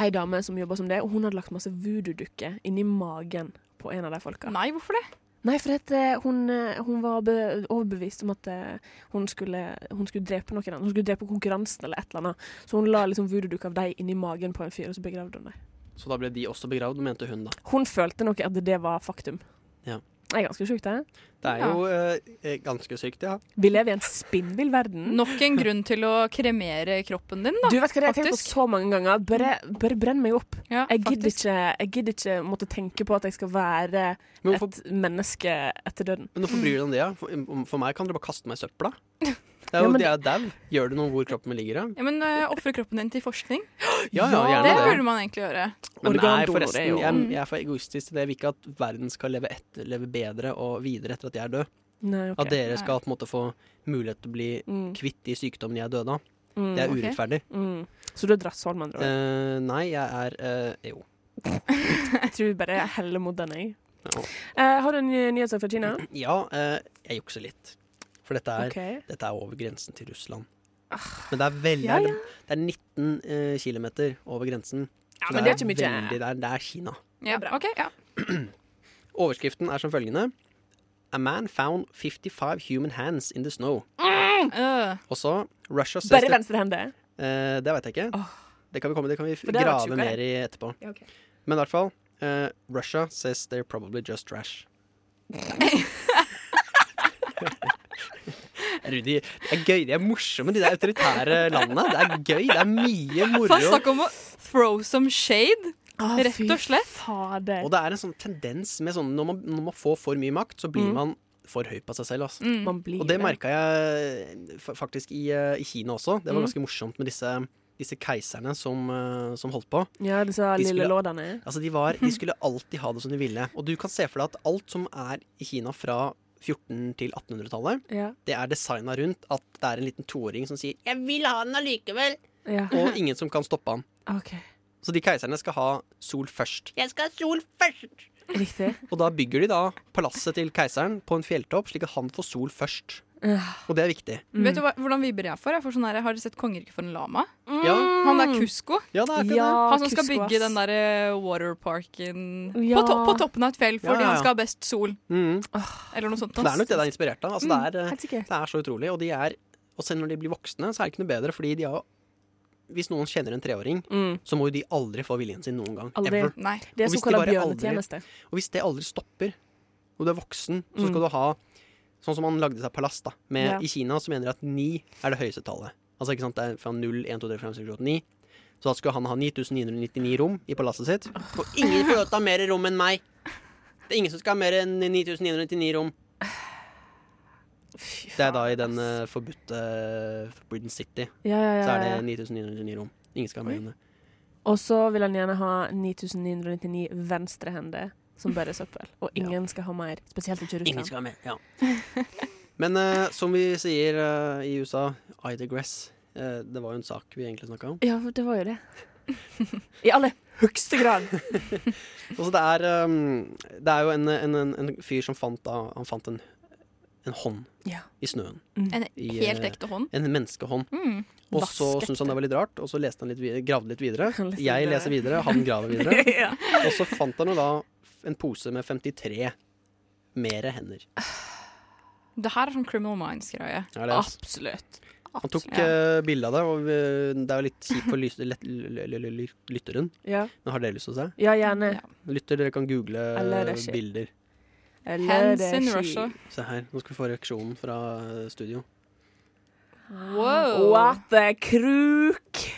ei dame som jobba som det, og hun hadde lagt masse voodoo-dukker inni magen på en av de folka.
Nei, hvorfor det?
Nei, for at, eh, hun, eh, hun var be overbevist om at eh, hun skulle, hun skulle drepe noen andre. Hun skulle drepe konkurransen eller et eller annet. Så hun la liksom voodoo-dukk av deg inni magen på en fyr, og så begravde hun deg.
Så da ble de også begravd, mente hun, da.
Hun følte nok at det var faktum.
Ja.
Det er ganske sjukt, det.
Det er jo eh, ganske sykt, ja.
Vi lever i en spinnvill verden.
Nok en grunn til å kremere kroppen din, da.
Du vet hva det er, Jeg har tenkt på
Faktisk.
så mange ganger. Bare, bare brenn meg opp.
Ja,
Jeg gidder,
faktisk.
ikke, jeg gidder ikke måtte tenke på at jeg skal være
Men hvorfor,
et menneske etter døden.
men hvorfor bryr du deg om det? ja? For, om- for meg kan dere bare kaste meg i søpla. Det er
Ja,
jo
men
det er jo dau. Gjør det noe hvor kroppen min ligger, ja?
Ja, men uh, Ofre kroppen din til forskning.
Ja ja,
Ja,
Det
gjerne
burde
det.
man egentlig gjøre.
Men nei,
Organdonor er
forresten,
jo- Mm.
jeg, jeg er for egoistisk til det. Jeg vil ikke at verden skal leve, etter, leve bedre og videre etter at jeg er død.
Nei, ok.
At dere skal på en måte få mulighet til å bli
Mm,
kvitt de sykdommene jeg døde av.
mm,
Det er
ok.
urettferdig.
mm. Så du er drasshold, med andre ord.
Eh, nei, jeg er eh, Jo.
Jeg tror bare jeg heller mot den, jeg.
Ja.
Eh, har du en ny- nyhetssak fra Kina?
Ja, eh, jeg jukser litt. For dette er,
OK.
dette er over grensen til Russland. Men det er veldig
Ah, Ja, ja.
Det er 19 eh, kilometer over grensen.
Ja,
Så
men det er ikke mye.
veldig- det, er, det er Kina.
Ja, ok, ja.
Overskriften er som følgende. A man found 55 human hands in the snow.
Øh,
Og så Russia says
Bare
that-
venstre hende.
Eh, det veit jeg ikke. Det kan vi, komme, det kan vi f-
det hadde vært
grave
sjukere.
mer i etterpå. Men i hvert fall eh, Russia says they're probably just trash. Rudi, det er gøy. De er morsomme, de der autoritære landene. Det er gøy. Det er mye
Bare
moro.
snakk om å throw some shade. Rett og slett.
Fader.
Og det er en sånn tendens med sånn når man, når man får for mye makt, så blir man for høy på seg selv. Altså.
Mm.
Man blir
Og det merka jeg fa- faktisk i, eh, i Kina også. Det var ganske morsomt med disse, disse keiserne som, eh, som holdt på.
Ja, disse
De skulle-
lille lådene.
Altså, de, var, de skulle alltid ha det som de ville. Og du kan se for deg at alt som er i Kina fra 14- til 1800-tallet,
Ja.
det er designa rundt at det er en liten toåring som sier 'jeg vil ha den allikevel',
ja.
og ingen som kan stoppe han.
OK.
Så de keiserne skal ha sol først.
Riktig.
Og da bygger de da palasset til keiseren på en fjelltopp, slik at han får sol først.
Ja.
Og det er viktig.
Vet du hva, hvordan vibber jeg for? Jeg får sånn her, har dere sett Kongeriket for en lama?
Ja,
Han der Kusko.
ja det er akkurat det.
Han som skal bygge den der eh, waterparken på,
Ja.
to på toppen av et fjell fordi
Ja, ja, ja.
han skal ha best sol.
Mhm.
Eller noe sånt.
Det er nok det det er inspirert av. Altså, det, er, eh,
Helt sikkert.
det er så utrolig. Og, de er, og selv når de blir voksne, så er det ikke noe bedre, fordi de har Hvis noen kjenner en treåring,
Mm.
så må jo de aldri få viljen sin noen gang.
Aldri.
Ever.
Nei.
Det er sånn
Og hvis de
såkalt
bare aldri-
bjørnetjeneste.
Og hvis det aldri stopper, og du er voksen, så skal du ha Sånn som han lagde seg palass, da. Med,
Mm. Ja.
I Kina så mener de at ni er det høyeste tallet. Altså ikke sant, det er fra 0, 1, 2, 3, 4, 5, 6, 7, 8, 9. Så da skulle han ha 9999 rom i palasset sitt. Og ingen får lov til å ha mer rom enn meg! Det er ingen som skal ha mer enn 9999 rom. Det er da i den eh, forbudte eh, Forbidden City,
Ja, ja,
så
ja,
er det
ja.
9999 rom. Ingen skal ha mer enn det.
Og så vil han gjerne ha 9999 venstrehender som bare søppel. Og ingen skal ha mer. Spesielt ikke
Ingen
Russland.
skal være med, ja. Men eh, som vi sier eh, i USA, I digress. Eh, det var jo en sak vi egentlig snakka om.
Ja, for det var jo det. I aller høyeste grad.
Altså, det, er, eh, det er jo en, en, en, en fyr som fant, da, han fant en, en hånd
Ja.
i snøen.
Mm.
En
I,
helt
eh,
ekte hånd.
En menneskehånd.
Mm.
Og så
Vasket
syntes han det var litt rart, og så leste han litt, vid- gravde litt videre.
Han leste
Jeg
videre.
leser videre, han graver videre.
ja.
Og så fant han jo da en pose med 53 mere hender.
Det her er sånn Criminal Minds-greie.
Er det-
Ah, Absolutt.
Han tok
Ja.
uh, bilde av det, og eh, det er jo litt kjipt for lys- lett- l- l- l- l- lytteren.
Ja,
Men har dere lyst til å se?
ja gjerne.
Ja.
Lytter, dere kan google
Eller det skjer.
bilder.
Eller
Hands
det
in
skil-
Russia.
Se her, nå skal vi få reaksjonen fra eh, studio.
Wow.
What the kruk?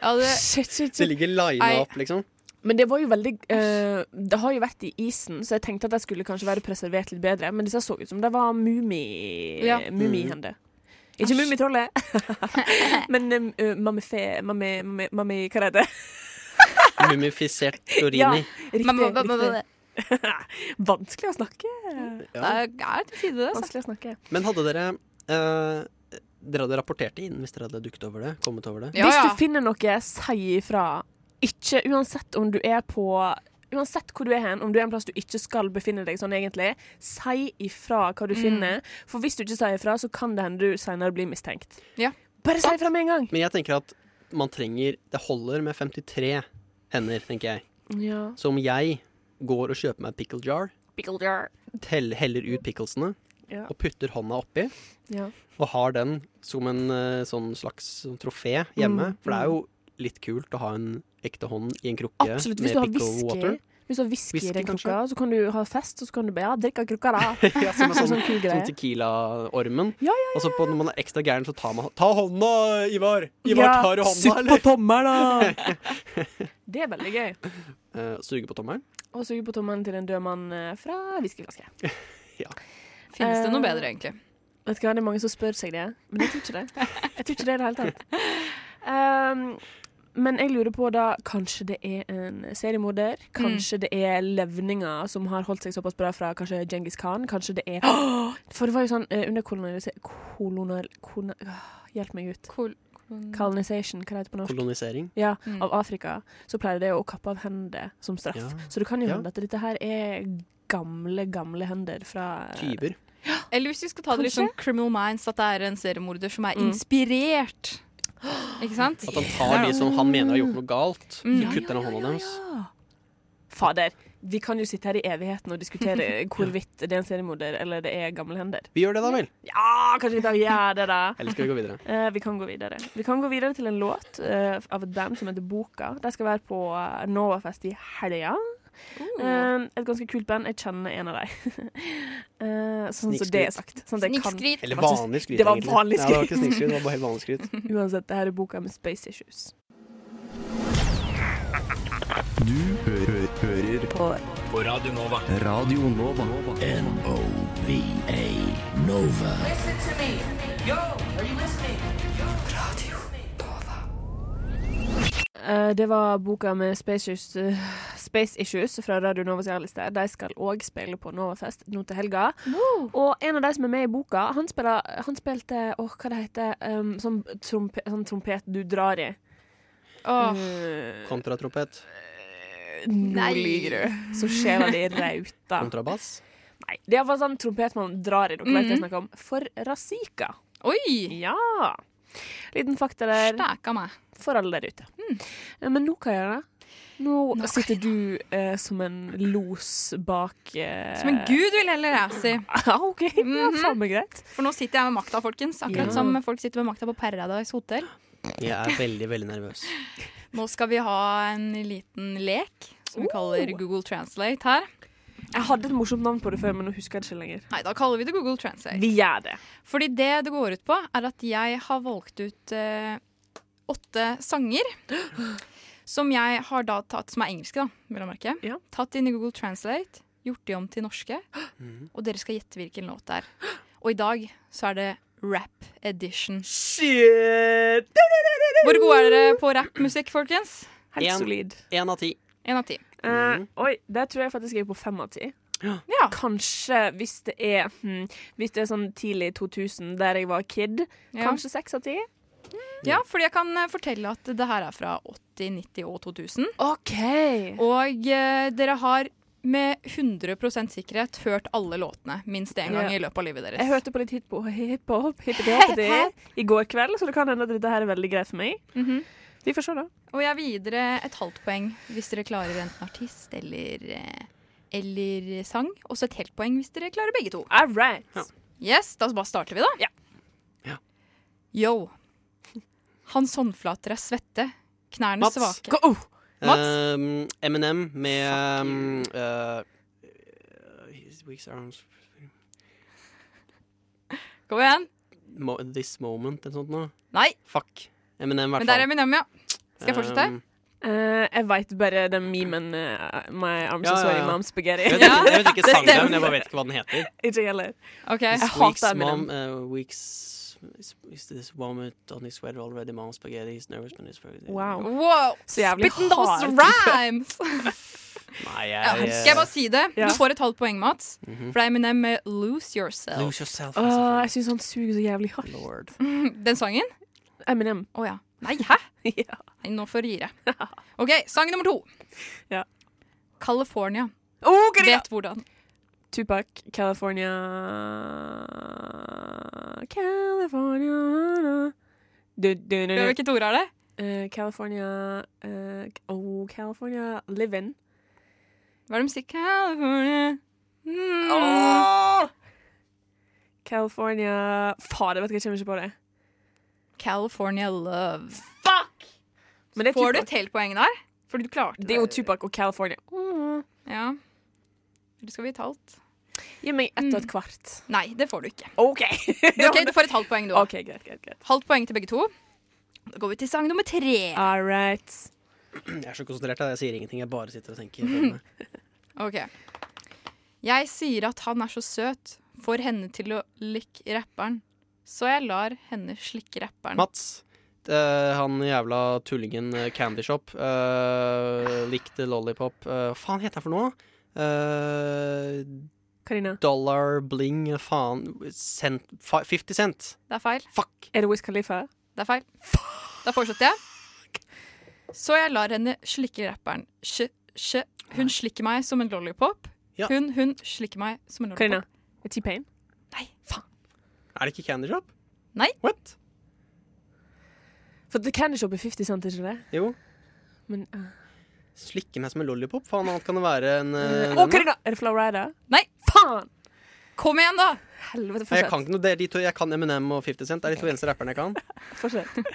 Ja, det,
Shit, shit,
Det
shit.
ligger lina
Ei.
opp, liksom.
Men det var jo veldig eh, Det har jo vært i isen, så jeg tenkte at det skulle kanskje være preservert litt bedre. Men disse så ut som det var mumi...
Ja. Mm.
mumihender. Ikke mummitrollet, men uh, mammifé mammi, mammi, mammi... Hva det heter det?
Mumifisert
Ja,
Dorini.
riktig.
Mamma, mamma,
riktig. Vanskelig å snakke.
det er- det Eh, er til tider, altså.
Vanskelig å snakke.
Men hadde dere eh, Dere hadde rapportert det inn hvis dere hadde dukket over det? Kommet over det?
Ja,
Hvis
ja.
du finner noe, si ifra. Ikke Uansett om du er på Uansett hvor du er hen, om du er en plass du ikke skal befinne deg sånn egentlig, si ifra hva du
Mm.
finner. For hvis du ikke sier ifra, så kan det hende du senere blir mistenkt.
Ja.
Bare si ifra med en gang.
Men jeg tenker at man trenger Det holder med 53 hender, tenker jeg.
Ja.
Så om jeg går og kjøper meg et pickle jar,
Pickle jar.
tell, heller ut picklesene
Ja.
og putter hånda oppi,
Ja.
og har den som en eh, sånn slags sånn trofé hjemme.
Mm,
For det er jo litt kult å ha en ekte hånd i en krukke
Absolutt. Hvis
med
du har
pickle
whisky,
water.
hvis du har whisky i
Whisky,
den
kanskje?
krukka, så kan du ha fest, og så kan du bare ja, drikke av krukka, da.
ja, som
Sånn,
en sånn,
sånn kul
sånn
greie.
Tequila-ormen.
Ja, ja,
Og så på- når man er ekstra gæren, så tar man Ta hånda, Ivar! Ivar,
Ja,
tar du
sugg på
hånda, eller?
tommelen, da! det er veldig gøy.
Eh, suge på tommelen?
Og suge på tommelen til en død mann eh, fra whiskyflaske.
Finnes det noe
Eh,
bedre, egentlig?
Vet du hva, Det er mange som spør seg det, men jeg tror ikke det. Jeg tror ikke det i det hele tatt. Ehm, men jeg lurer på da Kanskje det er en seriemorder?
Mm.
Kanskje det er levninger som har holdt seg såpass bra fra kanskje Djengis Khan? Kanskje det er For det var jo sånn eh, under kolonialisering kolonal, kona- ah, Hjelp meg ut.
Kol
Colonization, hva heter det på norsk?
Kolonisering?
ja,
Mm.
Av Afrika. Så pleier det å kappe av hender som straff.
Ja.
Så det kan jo
Ja.
hende at dette her er gamle, gamle hender fra
Tyver.
Eller hvis vi skal ta det litt
Kanskje?
sånn Criminal Minds, at det er en seriemorder som er inspirert. Ikke sant?
Eh,
At han tar de som han mener har gjort noe galt,
Mm.
så kutter han hånda deres.
Fader, vi kan jo sitte her i evigheten og diskutere hvorvidt det er en seriemorder eller det er gamle hender.
Vi gjør det, da vel?
Ja, kanskje vi tar gjør det, da.
Eller skal vi gå videre?
Eh, vi kan gå videre. Vi kan gå videre til en låt eh, av et band som heter Boka. De skal være på eh, Novafest i helga. Eh, et ganske kult band. Jeg kjenner en av dem. Eh, sånn som
Snikskryt.
det er sagt. Sånn at jeg kan.
Snikskryt.
Eller
Hva syns-
vanlig skryt,
det var
egentlig.
vanlig
Ja, det var ikke snikskryt, det var bare helt vanlig skryt.
Uansett, det her er boka med Space Issues.
Du hø hø hører på. på Radio Nova. Radio Nova.
N-O-V-A Nova.
Eh, det var boka med Space Issues, eh, Space Issues fra Radio Novas Jarliste. De skal òg spille på Novafest nå til helga. Og en av de som er med i boka, han, spiller, han spilte åh, hva det heter um, sånn, trompe, sånn trompet du drar i.
Åh,
Eh,
Kontratrompet.
Nå
Nei.
lyver du. Så sjela di rauta.
Kontrabass.
Nei, det er iallfall sånn trompet man drar i. Dere vet det jeg
Mhm.
snakker om. For Razika.
Oi!
Ja. Liten fakta der
Stæka meg.
for alle der ute.
Mm.
Eh, Men nå, Kaja, nå, nå sitter du eh, som en los bak eh,
Som en Mhm. gud, vil heller jeg si.
Ja, OK. Det er faen meg greit.
For nå sitter jeg med makta, folkens. Akkurat
Ja.
som folk sitter med makta på Paradise Hotel.
Jeg er veldig, veldig nervøs.
Nå skal vi ha en liten lek som vi kaller Google Translate her.
Jeg hadde et morsomt navn på det før, men nå husker jeg det ikke lenger.
Nei, da kaller vi det Google Translate.
Vi gjør det.
Fordi det det går ut på, er at jeg har valgt ut eh, åtte sanger. Som jeg har da tatt, som er engelske, da, vil jeg merke.
Ja.
Tatt inn i Google Translate, gjort de om til norske.
Mm.
Og dere skal gjette hvilken låt det er. Og i dag så er det rap edition.
Shit!
Hvor gode er dere på rappmusikk, folkens?
Helt
En.
solid.
Én av ti.
Én av ti.
Eh,
Mm.
Oi, der tror jeg faktisk jeg er på fem av ti.
Ja.
Kanskje hvis det er hm, Hvis det er sånn tidlig 2000, der jeg var kid.
Ja.
Kanskje seks av ti.
ja, fordi jeg kan eh, fortelle at det her er fra 80-, 90- og 2000.
OK.
Og eh, dere har med 100 sikkerhet hørt alle låtene minst én gang
Ja.
i løpet av livet deres.
Jeg hørte på litt hiphop hiphop, hippity-hoppity i går kveld, så det kan hende at dette her er veldig greit for meg.
Mhm.
Vi får se, da.
Og jeg vil gi dere et halvt poeng hvis dere klarer enten artist eller, eh, eller sang. Og så et helt poeng hvis dere klarer begge to.
All right.
Ja.
Yes, Da bare starter vi, da.
Ja.
Ja.
Yo. Hans håndflater er svette, knærne
Mats.
svake.
Go! Oh,
Ehm, Eminem med ehm, eh, his weak arms,
Kom igjen.
mo This moment eller sånt noe.
Nei,
Fuck. Eminem, i
men
hvert
der er
fall.
Eminem, ja. Skal jeg fortsette?
Ehm,
Eh, jeg veit bare den memen eh, My arms
Ja,
are
ja,
sorry,
ja.
mom's spaghetti.
jeg, vet ikke, jeg vet ikke
det
sangen,
stemmer.
men jeg bare vet ikke hva den heter.
Ikke jeg heller.
OK.
This
hater
week's
Eminem.
mom, eh, week's- is- is this vomit on his sweater already, mom spaghetti, he's nervous when he's very-
Wow.
Wow.
Så jævlig
Spitten those
hard.
rhymes!
Nei,
Ja,
jeg eh,
skal jeg bare si det?
Ja.
Du får et halvt poeng, Mats.
Mhm.
For det er Eminem med 'Lose Yourself'.
eh, Lose yourself. altså.
Åh, jeg syns han suger så jævlig hardt. Mm,
Lord.
Den sangen?
Eminem.
Å ja. Nei, hæ?
ja.
Nei, nå får du gi deg. OK, sang nummer to.
Ja.
California.
Oh, hva er det?
Vet hvordan.
Tupac, California California du, du, du, du.
Hvilket ord er det?
Eh, California eh, Oh, California Livin.
Hva er det de sier? California mm.
California Fader, vet ikke, jeg kommer ikke på det.
California love.
Men det er
Får du
Tupac.
et helt poeng der? Fordi du klarte
Det er jo Tupac og California.
Ja. Eller skal vi ta alt?
Gi meg ett og et kvart.
Nei, det får du ikke.
OK.
Ok, Du får et halvt poeng, du òg.
OK, greit, greit. greit
Halvt poeng til begge to. Da går vi til sang nummer tre.
All right.
Jeg er så konsentrert at jeg sier ingenting. Jeg bare sitter og tenker.
Ok. Jeg sier at han er så søt, får henne til å likke rapperen. Så jeg lar henne slikke rapperen.
Mats. eh, han jævla tullingen eh, Candy Shop. eh, likte Lollipop. eh, Hva faen heter det for noe? Eh,
Karina.
dollar bling eh, faen cent, fa 50 cent.
Det er feil.
Fuck!
Er det Wiz Khalifa?
Det er feil. Da fortsetter jeg. Så jeg lar henne slikke rapperen. Sj, sj. Hun slikker meg som en lollipop.
Ja.
Hun, hun slikker meg som en lollipop.
Karina. T-Pain?
Nei, faen.
Er det ikke Candy Shop?
Nei.
What?
For The Candy Shop er 50 Cent, ikke det?
Jo.
Men uh,
Slikke meg som en lollipop. Faen, annet kan det være enn
Å,
eh, denne?
Karina! Er det Flow Rider?
Nei,
Faen!
kom igjen, da!
Helvete,
Nei, Jeg kan
fortsett.
ikke noe, det er de to, jeg kan Eminem og 50 Cent. Det er de to eneste rapperne jeg kan.
fortsett.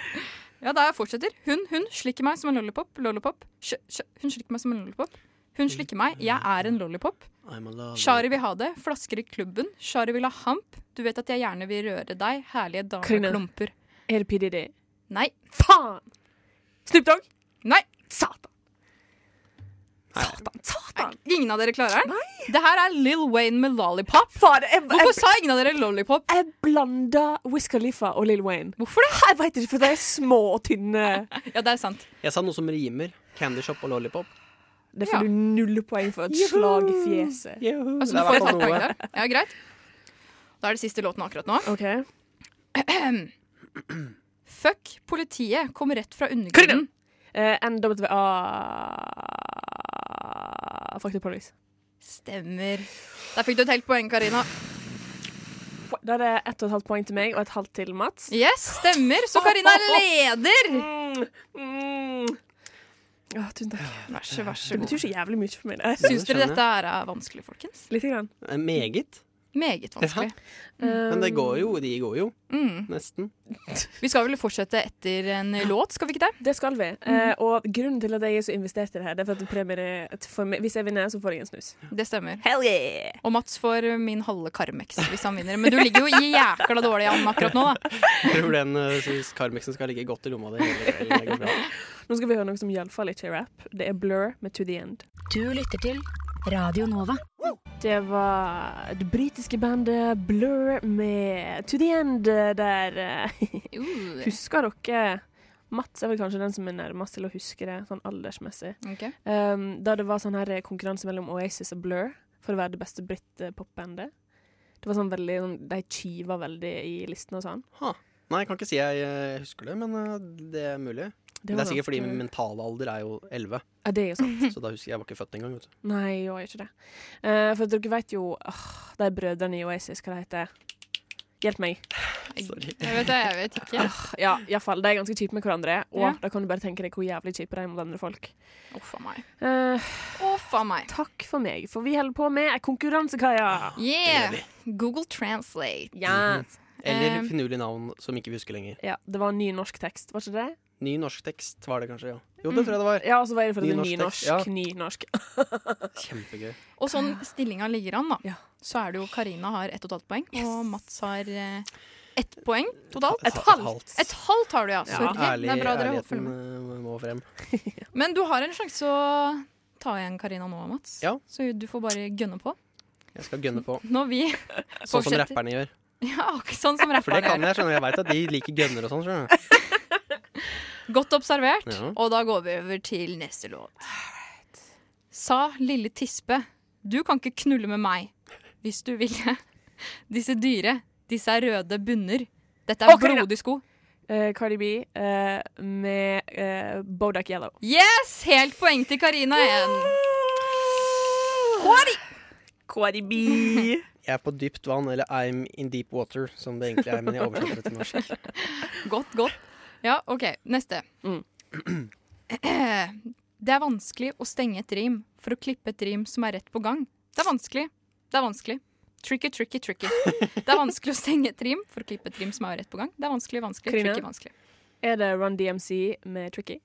Ja, da jeg fortsetter. Hun, hun slikker meg som en lollipop. Lollipop. Sj, sj, hun slikker meg som en lollipop. Hun slikker meg. Jeg er en lollipop.
I'm a lover.
Shari vil ha det. Flasker i klubben. Shari vil ha hamp. Du vet at jeg gjerne vil røre deg. Herlige
Karina.
dameklumper.
Er det PDD?
Nei.
Faen! Snoop Dogg?
Nei.
Satan! Satan, satan!
Ingen av dere klarer den? Det her er Lil Wayne med lollipop.
Faen, jeg,
Hvorfor
jeg,
sa ingen av dere lollipop?
jeg blanda Wiz Khalifa og Lil Wayne.
Hvorfor det?
Jeg veit ikke, for de er små og tynne.
Ja, det er sant.
Jeg sa noe som rimer. Candy Shop og lollipop.
Det får
Ja.
du null poeng for. Et slag i fjeset.
Altså,
det
du
er i
får
hvert
et
fall
halvt poeng
noe.
der. Ja, greit. Da er det siste låten akkurat nå.
OK.
Fuck politiet kom rett fra undergrunnen.
Eh, NWA Fuck the police.
Ah, Stemmer. Der fikk du et helt poeng, Karina.
Da er det ett og et halvt poeng til meg og et halvt til Mats.
Yes, stemmer. Så Karina er leder.
Ja, mm. tusen takk.
Vær så, vær så
Det
god.
betyr så jævlig mye for meg. det.
Ja,
Syns
det
dere
skjønner
dette er eh, vanskelig, folkens?
Litt. Grann.
Eh, Meget.
Meget vanskelig. Um,
Men det går jo. De går jo.
Mm.
Nesten.
Vi skal vel fortsette etter en låt, skal vi ikke det?
Det skal vi. Eh, og grunnen til at jeg er så investert i det her, Det er for at premier er at for meg, Hvis jeg vinner, så får jeg en snus.
Det stemmer.
Hell yeah!
Og Mats får min halve Carmex hvis han vinner. Men du ligger jo jækla dårlig an akkurat nå, da.
Jeg tror den eh, synes Carmexen skal ligge godt i lomma di hele kvelden. Det går bra.
Nå skal vi høre noe som iallfall ikke er rap. Det er Blur med To The End.
Du lytter til Radio Nova.
Det var det britiske bandet Blur med To The End eh, der eh, Husker dere Mats er vel kanskje den som er nærmest til å huske det, sånn aldersmessig.
Ok.
Um, da det var sånn her konkurranse mellom Oasis og Blur for å være det beste britt-popbandet. Det var sånn veldig, sånn, De kiva veldig i listene og sånn.
Ha. Nei, jeg kan ikke si jeg eh, husker det, men eh, det er mulig.
Det,
Men
var
det er sikkert fordi
ganske-
min mentale alder er jo 11,
ja, det er jo sånn.
så da husker jeg jeg var ikke født engang. vet du.
Nei, jo, jeg er ikke det. Eh, for dere vet jo åh, de brødrene i Oasis, hva de heter Hjelp meg.
Sorry.
Jeg vet det, jeg vet ikke.
Ah.
Ja, iallfall. De er ganske kjipe med hverandre. Og
Ja.
da kan du bare tenke deg hvor jævlig kjipe de er mot andre folk.
Uff a meg.
Eh,
Uff a meg.
takk for meg, for vi holder på med ei konkurransekaia.
Yeah! Google translate.
Yes.
Eller
Um,
finurlig navn som ikke vi husker lenger.
Ja, det var ny norsk tekst, var ikke det?
Ny norsk tekst var det kanskje, ja. Jo,
Mm.
det tror jeg det var.
Ja, og så var det fordi
Ny
det er
norsk
ny norsk.
tekst,
Ny
ja.
norsk.
Kjempegøy.
Og sånn
Ah.
stillinga ligger an, da,
Ja.
så er det jo Karina har ett og et halvt poeng, og Mats har eh, ett poeng totalt.
Et halvt. halvt.
Et halvt har du, ja. Sorry.
Ærlig,
det er bra dere holdt følge
ærligheten
med.
eh, må frem.
Men du har en sjanse å ta igjen Karina nå, Mats.
Ja.
Så du får bare gønne på.
Jeg skal gønne på.
Når vi
Sånn som
Fortsett.
rapperne gjør.
Ja, akkurat sånn som
For det
rapperne
kan
gjør.
jeg, skjønner du. Jeg veit at de liker gønner og sånn. skjønner du.
Godt observert.
Ja.
Og da går vi over til neste låt. Sa lille tispe, du kan ikke knulle med meg hvis du ville. Disse dyre, disse er røde bunner. Dette er
Å, Karina.
blodige sko.
Eh, Cardi B eh, med eh, Bodak Yellow.
Yes! Helt poeng til Karina igjen.
Cardi B.
Jeg er på dypt vann, eller I'm in deep water, som det egentlig er. Men jeg oversetter det til norsk.
Godt, godt. Ja, OK. Neste.
Mm.
Det er vanskelig å stenge et rim for å klippe et rim som er rett på gang. Det er vanskelig. Det er vanskelig. Tricky, tricky, tricky. Det er vanskelig å stenge et rim for å klippe et rim som er rett på gang. Det er vanskelig, vanskelig,
Karina?
tricky, vanskelig.
er det Run DMC med Tricky?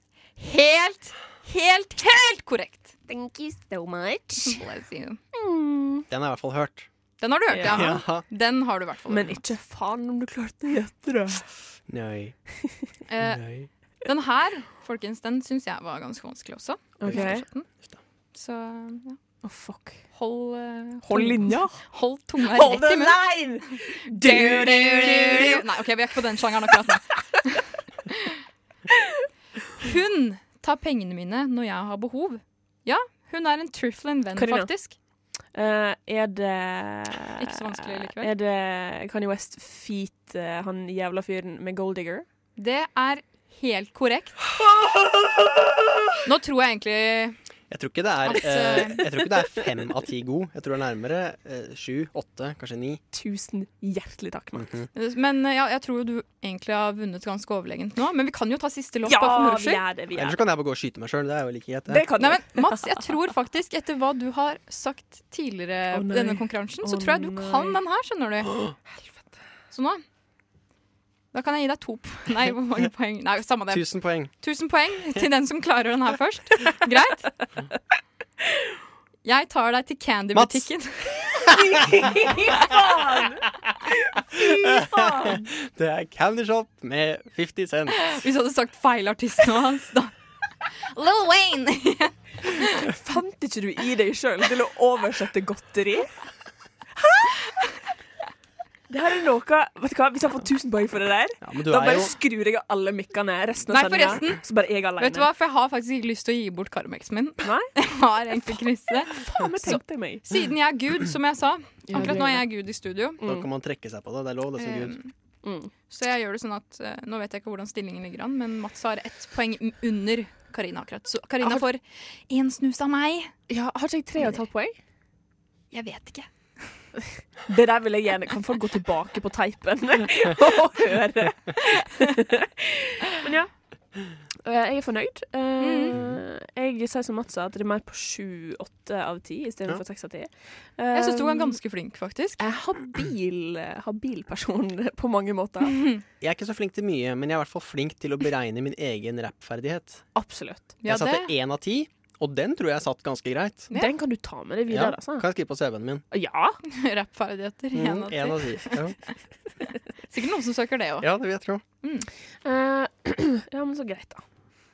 Helt, helt, helt korrekt.
Thank you so much.
Bless you.
Mm.
Den har jeg i hvert fall hørt.
Den har du hørt, ja.
Ja.
Den har du i hvert fall.
Men
hørt.
ikke faen om du klarte å gjette det.
Nei.
Eh,
Nei.
den her, folkens, den syns jeg var ganske vanskelig også.
OK.
Så ja.
Å, fuck.
hold eh,
Hold
tung-
linja.
Hold tunga rett i munnen.
line! Du, du, du, du.
Nei, ok, vi er ikke på den sjangeren akkurat nå. Hun tar pengene mine når jeg har behov. Ja, hun er en trifling venn,
Karina.
faktisk.
Eh, er det eh,
Ikke så vanskelig likevel.
Er det Kanye West feat eh, han jævla fyren med Gold Digger?
Det er helt korrekt. Nå tror jeg egentlig
Jeg tror ikke det er,
At,
eh,
eh,
jeg tror ikke det er fem av ti god. Jeg tror det er nærmere eh, sju, åtte, kanskje ni.
Tusen hjertelig takk, Mark.
Men eh, ja, jeg tror jo du egentlig har vunnet ganske overlegent nå. Men vi kan jo ta siste låt,
Ja,
bare for moro
vi
skyld.
er det, vi
Eller
er
så kan jeg bare gå og skyte meg sjøl. Det er jo like greit.
det.
det.
Kan
Nei,
du.
men Mats, jeg tror faktisk, etter hva du har sagt tidligere
Å,
i
nei.
denne konkurransen, så
Å,
tror jeg du
nei.
kan den her, skjønner du. Så nå Da kan jeg gi deg to p- Nei, hvor mange poeng? Nei, samme det.
Tusen poeng.
1000 poeng til den som klarer den her først. Greit? Jeg tar deg til Candy-butikken.
Det er Candy Shop med 50 cent.
Hvis du hadde sagt feil artist nå, Hans, da. Lil Wayne!
Fant ikke du i deg sjøl til å oversette godteri? Hæ?! Det her er noe Vet du hva, Hvis jeg får 1000 poeng for det der,
Ja, men du
da
er
bare
jo
skrur jeg av alle mikkene resten av
Nei,
sendinga.
forresten.
Så bare jeg alene.
Vet du hva, for jeg har faktisk ikke lyst til å gi bort Carmex-en min.
Nei?
Jeg har egentlig ikke lyst til det.
Faen, det tenkte jeg meg.
Siden jeg er Gud, som jeg sa.
Ja,
Akkurat
det
nå
er
er jeg Gud i studio.
Da kan man trekke seg på det. Det er lov, det er
Mm.
som Gud.
Eh, Så jeg gjør det sånn at eh, Nå vet jeg ikke hvordan stillingen ligger an, men Mats har ett poeng m- under Karina akkurat. Så Karina
Ah,
får én snus av meg.
Ja, har ikke jeg tre og et halvt poeng?
Jeg vet ikke.
Det der vil jeg gjerne Kan folk gå tilbake på teipen og høre? Men ja. Eh, Jeg er fornøyd. Eh, Jeg sier som Mats sa, at det er mer på sju-åtte av ti
Ja.
istedenfor seks av ti. Eh,
Jeg syns du var ganske flink, faktisk.
Jeg er habil, habil person på mange måter.
Jeg er ikke så flink til mye, men jeg er i hvert fall flink til å beregne min egen rappferdighet.
Absolutt.
Ja,
jeg satte
det.
én av ti, og den tror jeg satt ganske greit.
Ja.
Den kan du ta med deg
Ja,
videre.
kan
Altså.
jeg skrive på CV-en min.
Ja.
Rappferdigheter. en av
Mm,
ti.
en av ti. Ja.
Sikkert noen som søker det òg.
ja, det vil jeg tro.
Eh, ja, men så greit, da.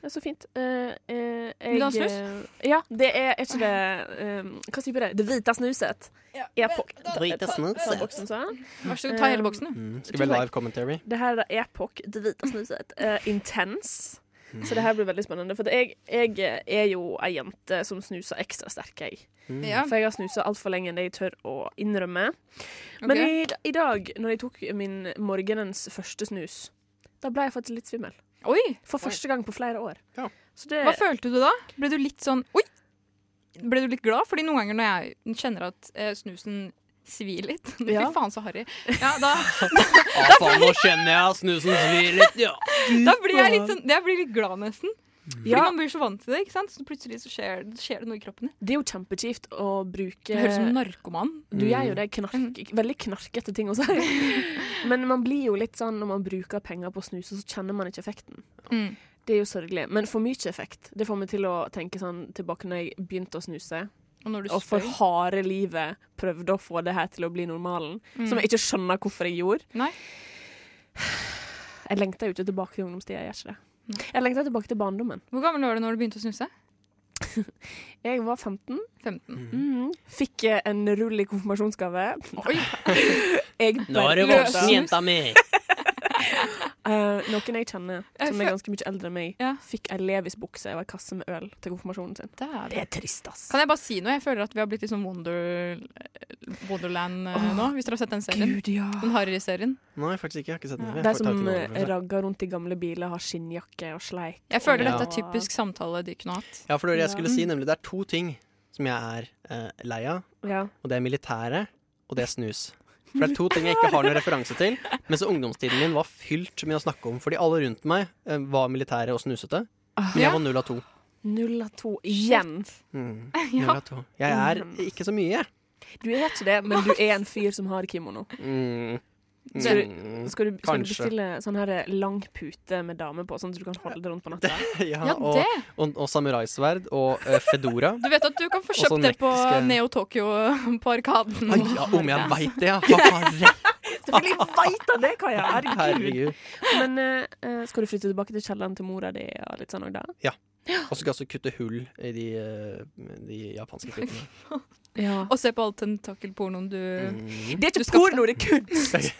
Det er så fint. Eh, eh,
Vil du ha
jeg- eh, Ja, det er, er ikke det eh, Hva sier det? Det hvite snuset. er på
Drite
Ta
snuset.
boksen sånn.
Vær så god, ta hele boksen, du.
Mm, skal vi ha live commentary?
Det her er Epoch, det hvite snuset. eh, intens. Så det her blir veldig spennende. For jeg, jeg eh, er jo ei jente som snuser ekstra sterk, jeg.
mm.
Ja.
For jeg har snusa altfor lenge enn det jeg tør å innrømme. Men
Ok.
i, i dag, når jeg tok min morgenens første snus, da ble jeg faktisk litt svimmel.
Oi!
For første gang på flere år.
Ja.
Så det,
Hva følte du da? Ble du litt sånn Oi! Ble du litt glad? Fordi noen ganger når jeg kjenner at eh, snusen svir litt
Ja.
Fy faen, så harry. Ja, da,
Å, Ah, faen, nå kjenner jeg at snusen svir litt, ja.
da blir jeg litt sånn Jeg blir litt glad, nesten.
Mm.
Fordi
ja,
man blir så vant til det, ikke sant? Så plutselig så skjer, skjer det noe i kroppen din.
det er jo kjempekjipt å bruke
Det høres ut som Mm. Mhm. narkoman.
Du gjør jo det. Knark, veldig knarkete ting å si. Men man blir jo litt sånn når man bruker penger på snus, så kjenner man ikke effekten.
Mm.
Det er jo sørgelig. Men for mye effekt. Det får meg til å tenke sånn tilbake når jeg begynte å snuse,
Og når du
og for
spør
harde livet prøvde å få det her til å bli normalen. Som jeg ikke skjønner hvorfor jeg gjorde.
Mm. Nei.
Jeg lengter jo ikke tilbake til ungdomstida. Jeg gjør ikke det. Jeg lengter tilbake til barndommen.
Hvor gammel var du når du begynte å snuse?
Jeg var 15.
15.
Mm. Fikk eh, en rull i konfirmasjonsgave.
Oi!
Jeg
Nå er du
bare-
voksen, jenta mi.
Eh, noen jeg kjenner som er
føl-
ganske mye eldre enn meg,
Ja.
fikk ei Levis-bukse og ei kasse med øl til konfirmasjonen sin.
Dæven.
Det er trist, ass.
Kan jeg bare si noe? Jeg føler at vi har blitt litt sånn Wonder, Wonderland eh, nå, hvis dere har sett den serien.
Gud, ja.
Den harry-serien.
Nei, faktisk ikke. Jeg har ikke sett den.
De som eh, ragger rundt i gamle biler, har skinnjakke og sleik.
Jeg føler
Ja.
dette er typisk samtale de kunne hatt.
Ja, for det var det jeg skulle si, nemlig det er to ting som jeg er eh, lei av,
Ja.
og det er militæret, og det er snus. For det er to ting jeg ikke har noen referanse til, mens ungdomstiden min var fylt med å snakke om, fordi alle rundt meg eh, var militære og snusete, men
Ja.
Ah, jeg var null av to.
Null av to igjen.
Mm,
Ja.
null av to. Jeg er ikke så mye, jeg.
Du er ikke det, men du er en fyr som har kimono.
Mm.
Så
Mm.
Skal du, skal du
Kanskje.
bestille sånn her eh, lang pute med dame på, sånn at du kan holde det rundt på natta?
Ja,
Ja,
og,
det!
og, og samuraisverd og eh, fedora.
Du vet at du kan få kjøpt
Også
det på
nektiske-
Neo Tokyo på Arkaden.
sånn Ai, ja, om jeg veit det, ja! Hva faen?
Selvfølgelig veit han det, Kaja! Herregud.
Herregud.
Men eh, eh, skal du flytte tilbake til kjelleren til mora di og litt sånn òg, da?
Og så skal jeg også kutte hull i de, eh, de japanske klippene.
Ja.
Og se på all tentakelpornoen du
Mm.
Det er
Du
ikke
skal-
porno, det er kunst!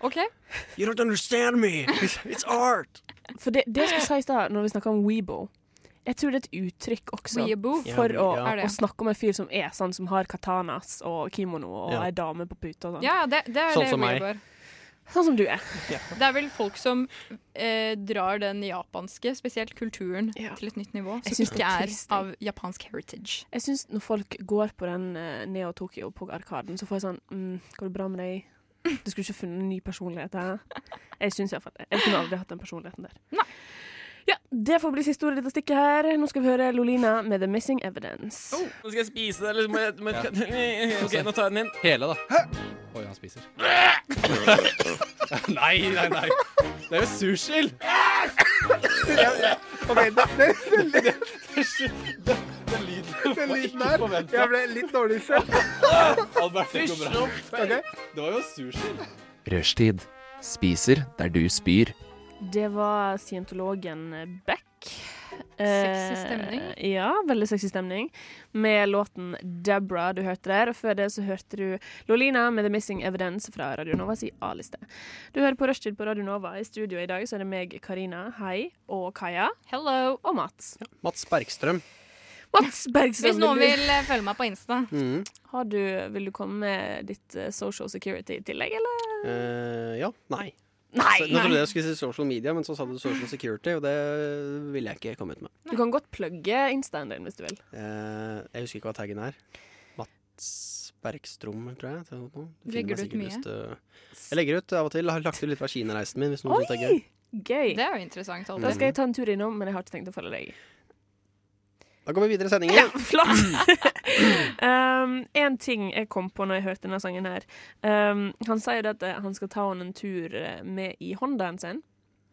OK?
You don't understand me! It's art!
For det, det skal sies da, når vi snakker om Weibo Jeg tror det er et uttrykk også
Weebo.
for å,
Ja,
Er det?
å snakke om en fyr som er sånn, som har katanas og kimono og
Ja.
ei dame på puta og sånn.
Ja, det, det er
Sånn
det
som meg.
Weebo er.
Sånn som du er.
Det er vel folk som eh, drar den japanske, spesielt kulturen,
Ja.
til et nytt nivå.
Jeg
Som
synes det
ikke
er
er
trist, jeg.
av japansk heritage.
Jeg syns når folk går på den eh, Neo Tokyo på Arkaden, så får jeg sånn mm, Går det bra med deg? Du skulle ikke funnet en ny personlighet her. Jeg syns iallfall det. Jeg kunne aldri hatt den personligheten der.
Nei.
Ja, Det får bli siste ordet i dette stikket her. Nå skal vi høre Lolina med The Missing Evidence.
Nå skal jeg spise det, eller må jeg men, OK, nå tar jeg den inn.
Hele, da. Oi, han spiser. nei, nei, nei. Det er jo sursild!
Ok, det, det,
Den lyden
den lyden der Jeg ble litt dårlig selv.
Albert, det går bra.
Ok?
Det var jo sursild.
Rushtid. Spiser der du spyr.
Det var scientologen Beck.
Sexy stemning.
Eh, ja, veldig sexy stemning. Med låten 'Debra' du hørte der. Og før det så hørte du Lolina med 'The Missing Evidence' fra Radio Nova si A-liste. Du hører på Rushtid på Radio Nova. I studio i dag så er det meg, Karina, hei, og Kaja.
Hello!
Og Mats.
Mats Bergstrøm.
Mats Bergstrøm,
Hvis noen
vil du-
vil eh, følge meg på Insta.
Mm.
har du, Vil du komme med ditt eh, social security i tillegg, eller?
Eh, ja. Nei.
Nei!
Så, nå trodde jeg jeg skulle si social media, men så sa du social security, og det ville jeg ikke komme ut med.
Du kan godt plugge instaen din hvis du vil.
Eh, jeg husker ikke hva taggen er. Mats Bergstrom, tror jeg. eller noe. Du
Legger
finner
du ut
meg sikkert
mye?
lyst til- Jeg legger ut av og til. Har lagt ut litt fra Kina-reisen min. Hvis noen synes det er gøy.
Oi! Gøy.
Det er jo interessant.
Da
Aldri.
skal jeg ta en tur innom, men jeg har ikke tenkt å følge deg.
Da går vi videre i sendingen.
Ja, flott! um, en ting jeg kom på når jeg hørte denne sangen her. Um, han sier jo det at eh, han skal ta henne en tur eh, med i Hondaen sin,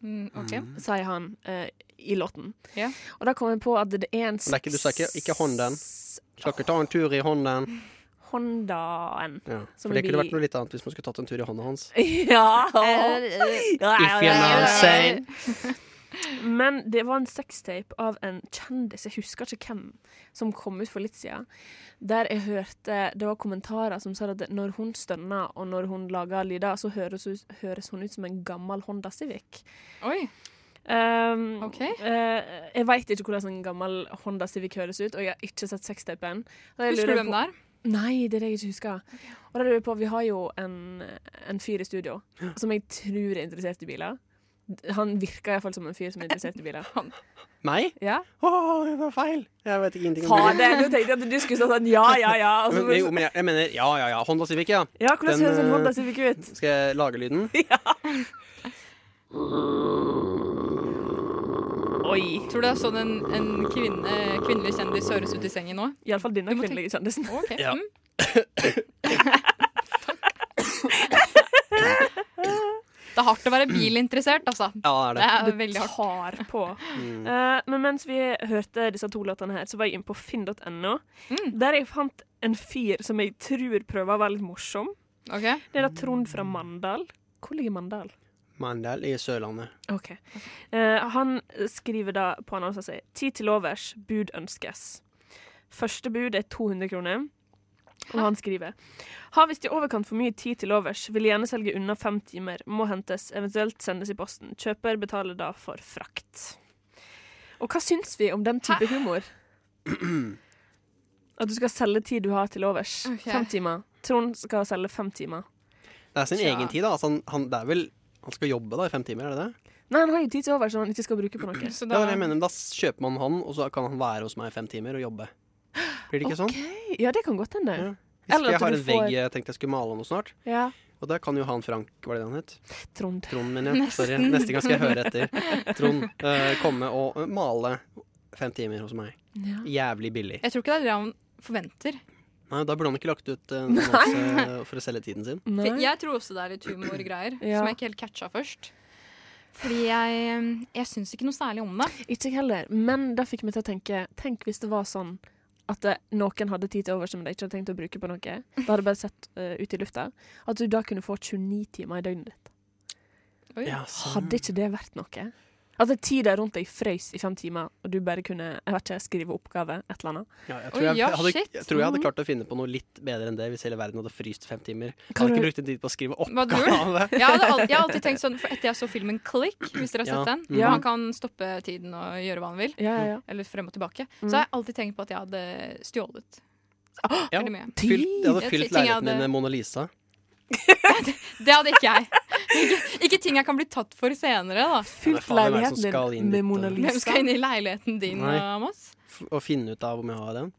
Mm, ok.
sier han eh, i låten.
Ja.
Og da kom jeg på at det er en
er ikke- du sa ikke- ikke Hondaen. Skal ikke ta en tur i hånden.
Hondaen.
Ja.
Som
For det kunne
vi-
vært noe litt annet hvis man skulle tatt en tur i hånda hans.
Ja!
Eh,
Eh,
If you're not sane.
Men det var en sextape av en kjendis, jeg husker ikke hvem, som kom ut for litt siden. Der jeg hørte Det var kommentarer som sa at når hun stønner og når hun lager lyder, så høres, hun- høres hun ut som en gammel Honda Civic.
Oi.
Um,
Ok.
eh, jeg veit ikke hvordan en gammel Honda Civic høres ut, og jeg har ikke sett sextapen. Så jeg lurer
Husker du hvem
på-
det er?
Nei, det er det jeg ikke husker. Og da lurer jeg på, Vi har jo en, en fyr i studio som jeg tror er interessert i biler. Han virker iallfall som en fyr som er interessert i biler.
Meg?
Ja?
Å, det var feil! Jeg vet ikke ingenting om biler.
Fader, nå tenkte jeg at du skulle sagt sånn ja, ja, ja. og så-
Men, jo, men jeg, jeg mener ja, ja, ja. Honda Civic, ja.
ja, hvordan
den,
høres en
eh,
Honda Civic ut?
Skal jeg lage lyden?
Oi.
Tror du det er sånn en, en kvinne, eh, kvinnelig kjendis høres ut i sengen nå?
Iallfall denne
Du må
kvinnelige kjendisen.
Ok.
Ja.
Mm. Det er hardt å være bilinteressert, altså.
Ja, det er
Det
det.
er
Det
veldig hardt.
tar på.
Mm.
Eh, men mens vi hørte disse to låtene her, så var jeg inne på finn.no.
Mm.
Der jeg fant en fyr som jeg tror prøver å være litt morsom.
Ok.
Det er da Trond fra Mandal. Hvor ligger Mandal?
Mandal i Sørlandet.
Ok. Eh, han skriver da på annonsen sin Tid til overs, bud ønskes. Første bud er 200 kroner. Og han skriver Har visst i overkant for mye tid til overs, vil gjerne selge unna fem timer, må hentes, eventuelt sendes i posten. Kjøper betaler da for frakt. Og hva syns vi om den type humor? At du skal selge tid du har til overs.
Ok.
Fem timer. Trond skal selge fem timer.
Det er sin
Tja.
egen tid, da. Altså, han, han, det er vel han skal jobbe da i fem timer, er det det?
Nei, han har jo tid til overs som han ikke skal bruke på noe.
Så
Det
da,
var det jeg mener, men Da s- kjøper man han, og så kan han være hos meg i fem timer og jobbe. Blir det ikke sånn?
Ok, Ja, det kan godt hende.
Ja.
Eller at
Hvis jeg har
du
en vegg
får-
jeg tenkte jeg skulle male noe snart,
Ja.
og der kan jo han Frank, var det det han het?
Trond.
Trond, mener jeg. Sorry. Neste gang skal jeg høre etter. Trond, eh, komme og eh, male fem timer hos meg.
Ja.
Jævlig billig.
jeg tror ikke det er det han forventer.
Nei, Da burde han ikke lagt ut eh, en annonse for å selge tiden sin.
For
Nei.
Jeg tror også det er litt humorgreier
Ja.
som jeg ikke helt catcha først. Fordi jeg, jeg syns ikke noe særlig om det.
Ikke jeg heller. Men det fikk meg til å tenke Tenk hvis det var sånn at eh, noen hadde tid til overs som de ikke hadde tenkt å bruke på noe. Da hadde jeg bare sett eh, ut i lufta. At du da kunne få 29 timer i døgnet ditt.
Oi.
Ja, sånn.
Hadde ikke det vært noe? At tida rundt deg frøys i fem timer, og du bare kunne jeg vet ikke, skrive oppgave, et eller annet.
Ja, jeg,
Oi,
tror jeg,
ja,
jeg, hadde,
shit.
jeg tror jeg hadde
Mm.
klart å finne på noe litt bedre enn det hvis hele verden hadde fryst fem timer. Jeg
Kan
hadde ikke
du-
brukt en tid på å skrive
Hva hadde du gjort?
oppgave.
Jeg, hadde al- jeg har alltid tenkt sånn, for Etter jeg så filmen 'Click', hvis dere har
Ja.
sett den
Ja.
hvor Han kan stoppe tiden og gjøre hva han vil.
Ja, ja, ja.
Eller frem og tilbake.
Mm.
Så har jeg alltid tenkt på at jeg hadde stjålet.
Ja.
Veldig mye.
Fylt, jeg hadde
Jeg
fylt
tenker jeg
leiligheten min
hadde-
med Mona Lisa.
Det hadde ikke jeg. Ikke, ikke ting jeg kan bli tatt for senere, da.
Fylt Ja, men faen, hvem er det som leiligheten din skal inn med dit, Mona da? Lisa?
Hvem skal inn i leiligheten din,
Nei.
Amos?
F- Å finne ut av om jeg har den.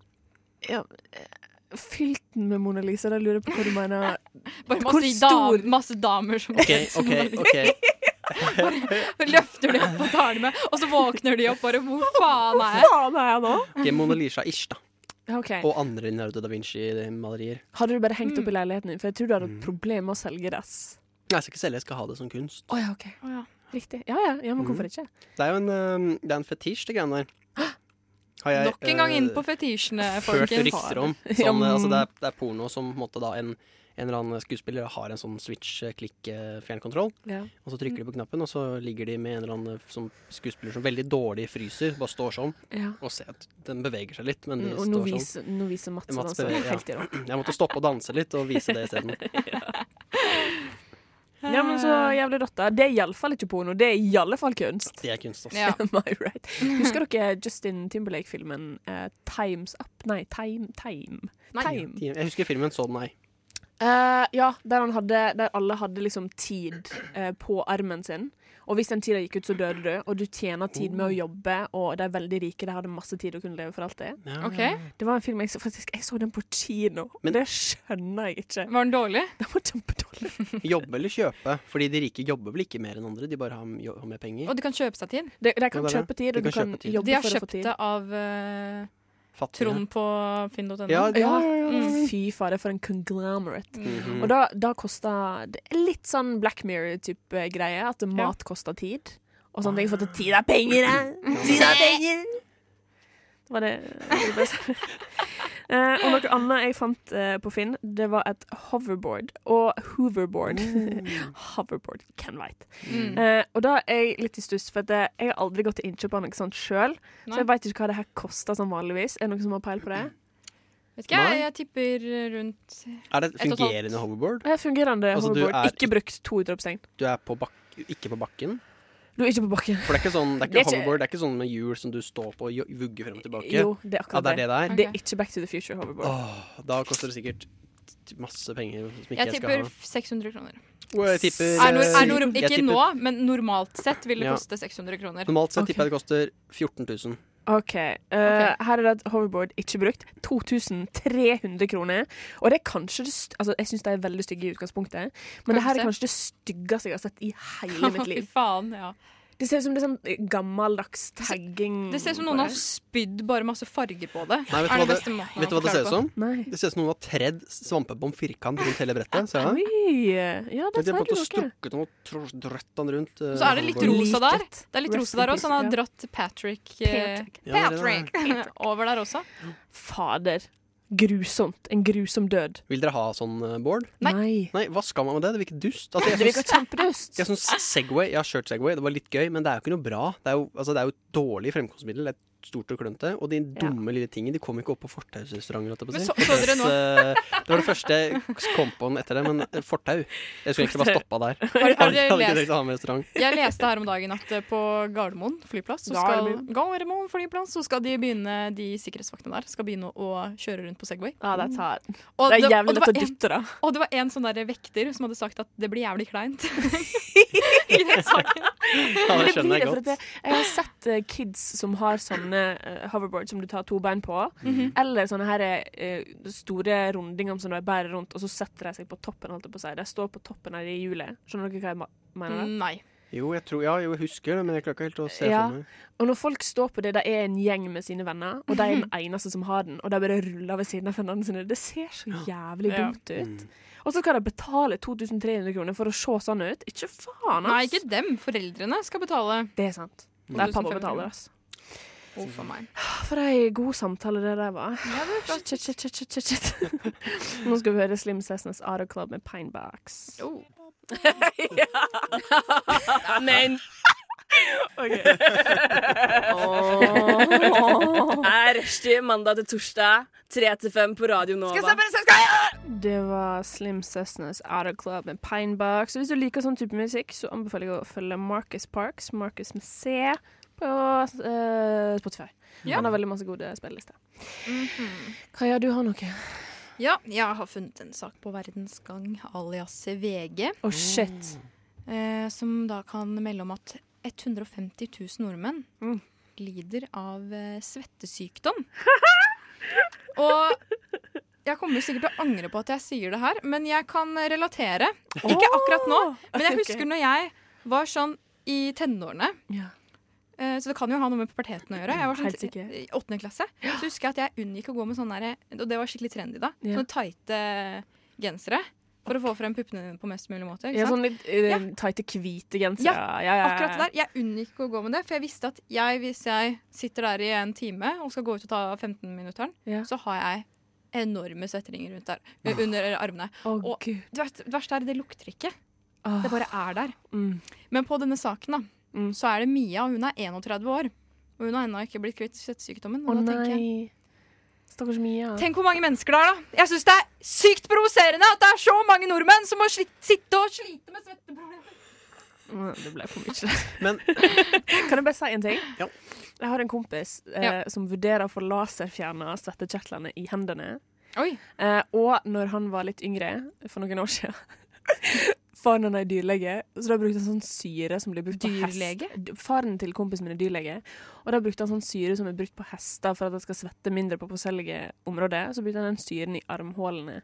Ja, eh, Fylt den med Mona Lisa, da lurer jeg på hva du mener.
Bare
Hvor
masse,
stor?
dam, masse damer som
OK, OK. ok
Bare løfter de opp og tar dem med, og så våkner de opp bare Hvor faen er jeg?
Hvor faen er jeg nå?
Ok, Mona Lisa-ish, da.
Ok.
Og andre Leonardo da eh, Vinci-malerier.
Hadde du bare hengt opp i leiligheten din? For jeg tror du hadde
Mm.
et problem med å selge dass.
Nei, Jeg skal ikke selge, jeg skal ha det som kunst.
Å ja, OK. Riktig. Ja, ja, ja, men
Mm.
hvorfor ikke?
Det er jo en, øhm, det er en fetisj, det greiene der. Har jeg,
Nok en gang inn
øh,
på eh, fetisjene,
Ført rykter om. Sånn,
Ja,
altså,
mm.
det, er, det er porno som på en måte, da, en, en eller annen skuespiller har en sånn switch-klikk-fjernkontroll.
Ja.
eh, Og så trykker de på knappen, og så ligger de med en eller annen eh, som skuespiller som veldig dårlig fryser. Bare står sånn
Ja.
og ser at den beveger seg litt, men de
Mm, Og nå
står sånn.
viser, nå viser Mats
Mats
altså.
beveger,
Helt i
ja.
rom.
Jeg måtte stoppe å danse litt og vise det isteden.
Ja, men så jævlig rotta. Det er iallfall ikke porno. Det er i alle fall kunst.
Det er kunst, altså.
Ja.
Am I right? Husker dere Justin Timberlake-filmen eh, Times Up? Nei, Time Time.
Nei.
time.
Jeg husker filmen Sånn så den, nei.
Eh, ja, der, han hadde, der alle hadde liksom tid eh, på armen sin. Og hvis den tida gikk ut, så døde du. Og du tjener tid med
Oh.
å jobbe, og de er veldig rike. De hadde masse tid og kunne leve for alltid.
Ja.
OK.
Det var en film jeg så, faktisk, jeg så den på kino.
Men-
det skjønner jeg ikke.
Var den dårlig?
Den var kjempedårlig.
Jobbe eller kjøpe? Fordi de rike jobber vel ikke mer enn andre, de bare har, jo- har mer penger.
Og de kan kjøpe seg tid?
De, de kan
det er det.
kjøpe tid,
De
og du
kan
kan
kjøpe tid.
jobbe
De har
for å få
kjøpt
tid.
det av eh,
Fattige.
Trond på finn.no.
Ja, de,
Ja,
Mm.
fy fader, for en conglomerate.
Mhm.
Og da, da koster det er Litt sånn Black Mirror-type eh, greie. At mat koster tid. Og sånne ting. For at tid er penger, da! Tid er penger! Det var det, det, var det beste. Eh, og noe annet jeg fant eh, på Finn, det var et hoverboard. Og hoverboard.
Mm.
hoverboard, hvem veit.
Mm.
Eh, og da er jeg litt i stuss, for at eh, jeg har aldri gått til innkjøp av noe sånt sjøl. Så
Nei. Mm.
jeg veit ikke hva det her koster sånn vanligvis. Er det noen som har peil på det?
Vet ikke, jeg,
Nei.
jeg tipper rundt
Er det
Et
et
og et halvt.
fungerende hoverboard?
Ja, fungerende
Altså, du
hoverboard.
er
Ikke brukt to utropstegn.
Du er på bak ikke på bakken?
Du er ikke på bakken.
For det er ikke sånn, det er
Det er
ikke
ikke-
hoverboard, det er ikke sånn med hjul som du står på og jo- vugger frem og tilbake.
Jo, det er
ja,
akkurat
det er det Ah. det er.
Det er ikke Back to the Future hoverboard.
Åh, da koster det sikkert t- masse penger som ikke
Jeg
jeg, skal
tipper
ha.
600 kroner.
Åh, jeg tipper,
Er nor, er nor,
jeg
ikke
tipper-
nå, men normalt sett vil det
Ja.
koste 600 kroner.
Normalt sett
Ok.
tipper jeg det koster 14 000.
OK. eh, her er det et hoverboard ikke brukt. 2300 kroner. Og det er kanskje det st Altså, jeg syns de er veldig stygge i utgangspunktet, men det her er
Kanskje.
kanskje det styggeste jeg har sett i hele mitt
Fy
liv.
faen, ja.
Det ser ut som det er sånn gammeldags tagging.
Det ser ut som
på
noen
det.
har spydd bare masse farger på det.
Mm. Nei,
er
vet du hva
den
det-
beste måten
Vet du
å
hva det ser ut
forklare
som?
Nei.
Det ser ut som noen har tredd svampebom firkant rundt hele brettet. Ser jeg det?
Oi! Ja,
Men
det
De har på en måte
ser du ikke.
strukket den og tro- drøtt den rundt. eh,
Og så er det litt
hoverboardet.
rosa der.
Liket.
Det er litt
Rest
rosa
in
der også. Han har
peace,
dratt Patrick, eh,
Patrick.
Ja, det er det.
Patrick over der også.
Fader. Grusomt. En grusom død.
Vil dere ha sånn eh, board?
Nei.
Nei, hva skal man med det? Det virker dust. Altså,
Det
jeg
virker
syns,
kjempedust.
jeg syns Segway Jeg har kjørt Segway, det var litt gøy, men det er jo ikke noe bra. Det er jo, altså, det er jo et dårlig fremkomstmiddel. Det er stort og klønete. Og de dumme lille tingene, de kom ikke opp på fortausrestauranter. holdt jeg på å
Men
si.
så- så dere nå?
Det, eh, det var det første jeg kom på etter det, men eh, fortau. Jeg skulle egentlig bare stoppa der.
Har, har dere
Jeg hadde ikke
lest?
tenkt å ha med restaurant.
Jeg leste her om dagen at eh, på Gardermoen flyplass så skal, Gardermoen flyplass, så skal de begynne de sikkerhetsvaktene der skal begynne å kjøre rundt på Segway.
Ja, det er tært.
Og
Det er
og
jævlig lett å
var en-
dytte, da.
Og det var en sånn der vekter som hadde sagt at det blir jævlig kleint. I den saken.
Ja, det
Det blir det,
skjønner jeg
for at
godt.
det, jeg har sett eh, kids som har sånne eh, hoverboard som du tar to bein på,
Mhm.
eller sånne her, eh, store rundinger som de bærer rundt, og så setter de seg på toppen. Holdt jeg på å si. De står på toppen av det hjulet. Skjønner dere hva jeg ma- mener? da?
Nei.
Jo, jeg tror, ja, jo, jeg husker det, men jeg klarer ikke helt å se
Ja.
for meg.
Og når folk står på det, de er en gjeng med sine venner, og de er den
Mhm.
eneste som har den, og de bare ruller ved siden av vennene sine. Det ser så jævlig
Ja.
dumt
Mm.
ut. Og så skal de betale 2300 kroner for å se sånn ut. Ikke faen, ass!
Nei, ikke dem. Foreldrene skal betale.
Det er sant. Det er pappa
2500
betaler, ass.
Oh, for meg.
For ei god samtale det der var. Shit, shit, shit, shit, shit, shit. Nå skal vi høre Slim Sesnes Auto Club med Pinebox.
Oh.
Amen! Er rushtid mandag til torsdag, 3 til 5 på Radio Nova. Det var Slim Sesnes Auto Club med Pinebox. Og hvis du liker sånn type musikk, så anbefaler jeg å følge Marcus Parks, Marcus med C, på eh, Spotify.
Ja.
Han har veldig masse gode spillelister. Kaja, du har noe.
Ja, jeg har funnet en sak på Verdensgang alias VG.
Å, shit.
Eh, som da kan melde om at 150 000 nordmenn
Mm.
lider av eh, svettesykdom. Og jeg kommer sikkert til å angre på at jeg sier det her, men jeg kan relatere. Ikke akkurat nå, men jeg husker når jeg var sånn i tenårene.
Ja.
Eh, Så det kan jo ha noe med puberteten å gjøre. Jeg var
Helt
sånn,
sikkert.
I åttende klasse Så husker jeg at jeg unngikk å gå med sånne der, Og det var skikkelig trendy da.
Ja.
Sånne tighte gensere. For å få frem puppene dine på mest mulig måte. Ikke
Ja,
sant?
sånn litt eh, tighte, hvite gensere.
Ja,
Ja, ja, ja.
Akkurat det der, Jeg unngikk å gå med det, for jeg visste at jeg, hvis jeg sitter der i en time og skal gå ut og ta 15-minutteren,
Ja. Ah.
så har jeg enorme svetteringer rundt der, eh, under armene.
Å,
Og-
gud.
Det verste- det verste er, det lukter ikke.
Åh.
Det bare er der.
Ah. Mm.
Men på denne saken da,
Mm.
så er det Mia, og hun er 31 år. Og hun har ennå ikke blitt kvitt svettsykdommen.
Å
og da tenker jeg,
nei. Stakkars Mia.
Tenk hvor mange mennesker det er, da. Jeg syns det er sykt provoserende at det er så mange nordmenn som må sli- sitte og slite med svetteproblemer.
Åh, Det ble for mye.
Men-
kan jeg bare si en ting?
Ja.
Jeg har en kompis eh,
Ja.
som vurderer å få laserfjerna svettekjertlene i hendene.
Oi.
Eh, og når han var litt yngre, for noen år siden Faren han er dyrlege, så da brukte han sånn syre som blir brukt på
Dyrlege?
hest. D- Faren til kompisen min er dyrlege, og da brukte han sånn syre som er brukt på hester for at de skal svette mindre på forskjellige områder. Så brukte han den syren i armhålene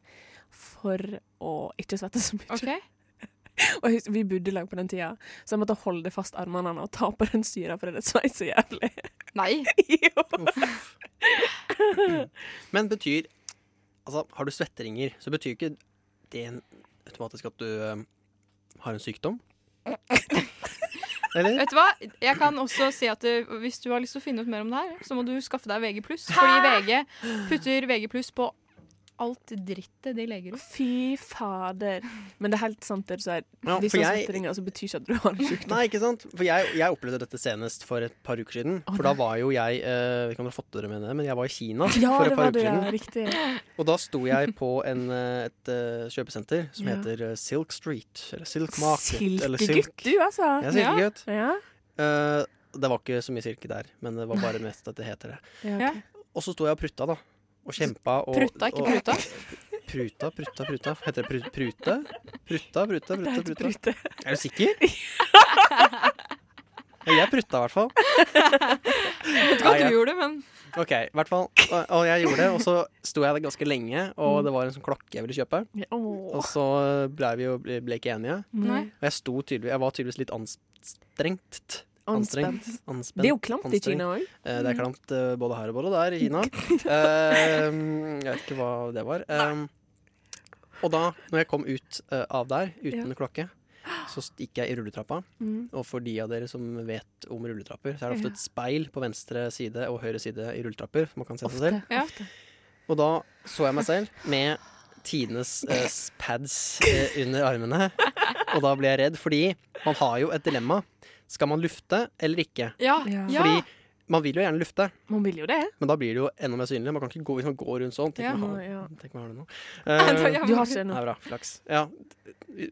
for å ikke svette så mye.
OK.
Og jeg husker, vi bodde i lag på den tida, så jeg måtte holde fast armene hans og ta på den syra, for det svei så jævlig.
Nei.
jo.
Men betyr Altså, har du svetteringer, så betyr ikke det en- automatisk at du eh, har en sykdom. Eller?
Vet du hva? Jeg kan også si at eh, Hvis du har lyst til å finne ut mer om det her, så må du skaffe deg VG+. Fordi VG putter VG+, på alt drittet de legger ut.
Fy fader. Men det er helt sant, det du sier.
Ja,
Hvis
for
du
jeg-
setter ringer, så betyr ikke at du har en sykdom.
Nei, ikke sant? For jeg, jeg opplevde dette senest for et par uker siden. For da var jo jeg eh, vet ikke om dere har fått dere med det, men jeg var i Kina
Ja,
for
det
et par
var
uker
det, ja.
siden.
Riktig.
Og da sto jeg på en, eh, et eh, kjøpesenter som
Ja.
heter eh, Silk Street. Eller Silk Market. eller
Silkegutt, du, altså.
Jeg er silkegutt.
Ja.
Eh, det var ikke så mye silke der, men det var bare mest at det heter det.
Ja, ok.
Ja. Og
Og så sto jeg og prutta, da. Og kjempa og
Prutta, ikke
og-
pruta.
Pruta, pruta, pruta. Heter det pru- prute? Pruta, pruta,
Det
pruta.
heter
pruta.
brute.
Er du sikker? Ja, Jeg prutta i hvert fall.
Vet ikke hva
Nei, jeg-
du gjorde, men
Ok, i hvert fall. Og, og jeg gjorde det, og så sto jeg der ganske lenge,
Mm.
og det var en sånn klokke jeg ville kjøpe.
Ja,
Og
Åh.
så ble vi jo ble ble ikke enige.
nei.
Mm.
Og jeg, sto tydelig, jeg var tydeligvis litt anstrengt.
Anspent.
Anspent.
Det er jo klamt i
Anstrengt.
Kina òg.
Eh, Det er klamt eh, både her og både der i Kina. Eh, Jeg vet ikke hva det var. Eh, Og da, når jeg kom ut eh, av der uten klokke, så gikk jeg i rulletrappa.
Mm.
Og for de av dere som vet om rulletrapper, så er det ofte et speil på venstre side og høyre side i rulletrapper. Man kan se seg selv.
Ja.
Og da så jeg meg selv med tidenes eh, s- pads eh, under armene. Og da ble jeg redd, fordi man har jo et dilemma. Skal man lufte eller ikke?
Ja.
Ja.
ja.
Fordi man vil jo gjerne lufte,
Man vil jo det.
men da blir det jo enda mer synlig. Man kan ikke gå, hvis man går rundt sånn. Tenk
Ja.
om
Nå,
jeg
ja.
har- tenk om jeg har det nå.
Da-
Eh,
ja,
Du har ikke det
det
nå.
er bra. Flaks. Ja,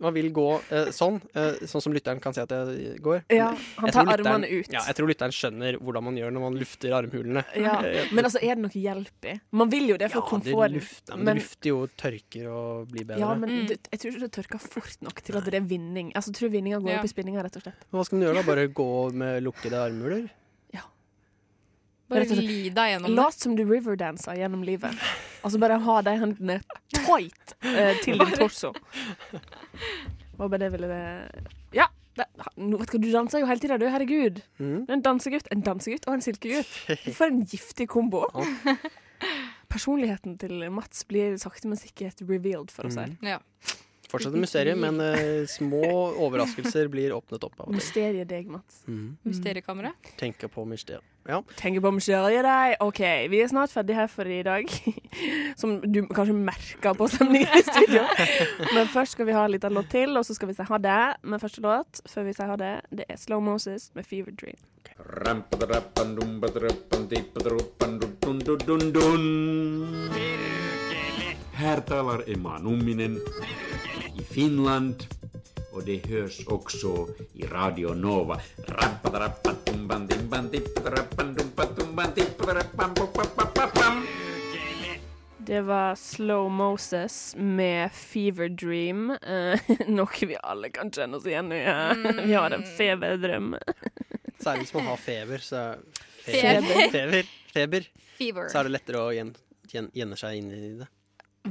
man vil gå eh, sånn, eh, sånn som lytteren kan se at jeg går.
Ja, han
Jeg
tar
tror lytteren-
armene ut.
Ja, jeg tror lytteren skjønner hvordan man gjør når man lufter armhulene. Eh,
Ja. Men altså, er det noe hjelp i? Man vil jo det for
det
komforten.
luft- ja, men det lufter jo og tørker og blir bedre.
ja,
men...
men det, jeg tror ikke det tørker fort nok til at det er vinning. Altså, jeg tror vinninga går
Ja.
opp i spinninga, rett og slett.
Hva skal man gjøre da? Bare gå med lukkede armhuler?
Bare
Rett og slett.
li deg gjennom det.
Lat som du riverdanser gjennom livet. Altså bare ha de hendene tight eh, til din torso. Hva var det jeg ville Ja! Det, nå vet du, hva, du danser jo hele tida, du. Herregud.
Mhm.
Du er En dansegutt, en dansegutt og en silkegutt. For en giftig kombo. Personligheten til Mats blir sakte, men sikkert revealed for oss her.
Ja.
Fortsatt et mysterium, men eh, små overraskelser blir åpnet opp av og til.
Mysteriet deg, Mats.
Mhm.
Mysteriekammeret.
Tenker på mysterier. Ja.
Tenker på mysteriet deg. OK, vi er snart ferdig her for i dag. Som du kanskje merker på stemningen i studio. Men først skal vi ha en liten låt til, og så skal vi si ha det med første låt. Før vi sier ha det, det er Slow Moses med Fever Dream.
Här talar Emma Numminen i Finland och det hörs också i Radio Nova.
Det var Slow Moses med Fever Dream. eh, noe vi alle kan kjenne oss igjen i. eh. Vi har en feberdrøm.
Særlig hvis man har feber, så
Feber.
Feber. Feber. feber.
Fever.
Så er det lettere å gjen, gjen, gjenne seg inn i det.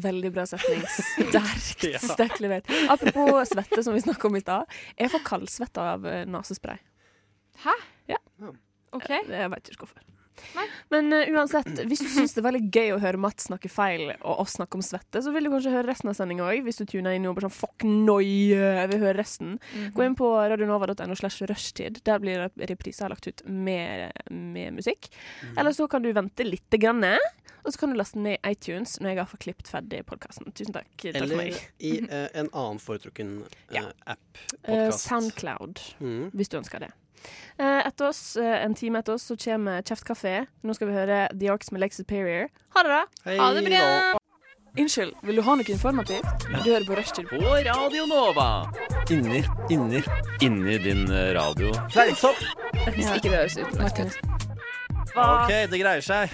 Veldig bra setning. Sterkt.
Ja.
Sterkt levert. Apropos svette, som vi snakka om i stad. Jeg får kaldsvette av eh, nesespray.
Hæ?
Ja.
Ok.
Jeg, jeg veit ikke hvorfor. Men eh, uansett, hvis du syns det er veldig gøy å høre Mats snakke feil og oss snakke om svette, så vil du kanskje høre resten av sendinga òg, hvis du tuner inn og bare sånn fuck noi, jeg vil høre resten. Gå inn på radionova.no slash rushtid. Der blir det repriser lagt ut med, med musikk. Eller så kan du vente lite grann, og så kan du laste den ned i iTunes når jeg har fått klippet ferdig podkasten. Tusen takk. takk for
Eller
meg.
i eh, en annen foretrukken eh, app.
Eh,
Podcast.
Soundcloud,
Mm.
hvis du ønsker det. Eh, etter oss, eh, En time etter oss så kommer Kjeftkafé. Nå skal vi høre The Arcs med Lake Superior. Ha det, da!
Hei, Ha det bra. da.
Unnskyld, vil du ha noe informativt? Du hører på Rushtid.
På Radio Nova. Inni, inni Inni din eh, radio.
Fleisopp!
Hvis ikke det høres ut.
Ok, det greier seg.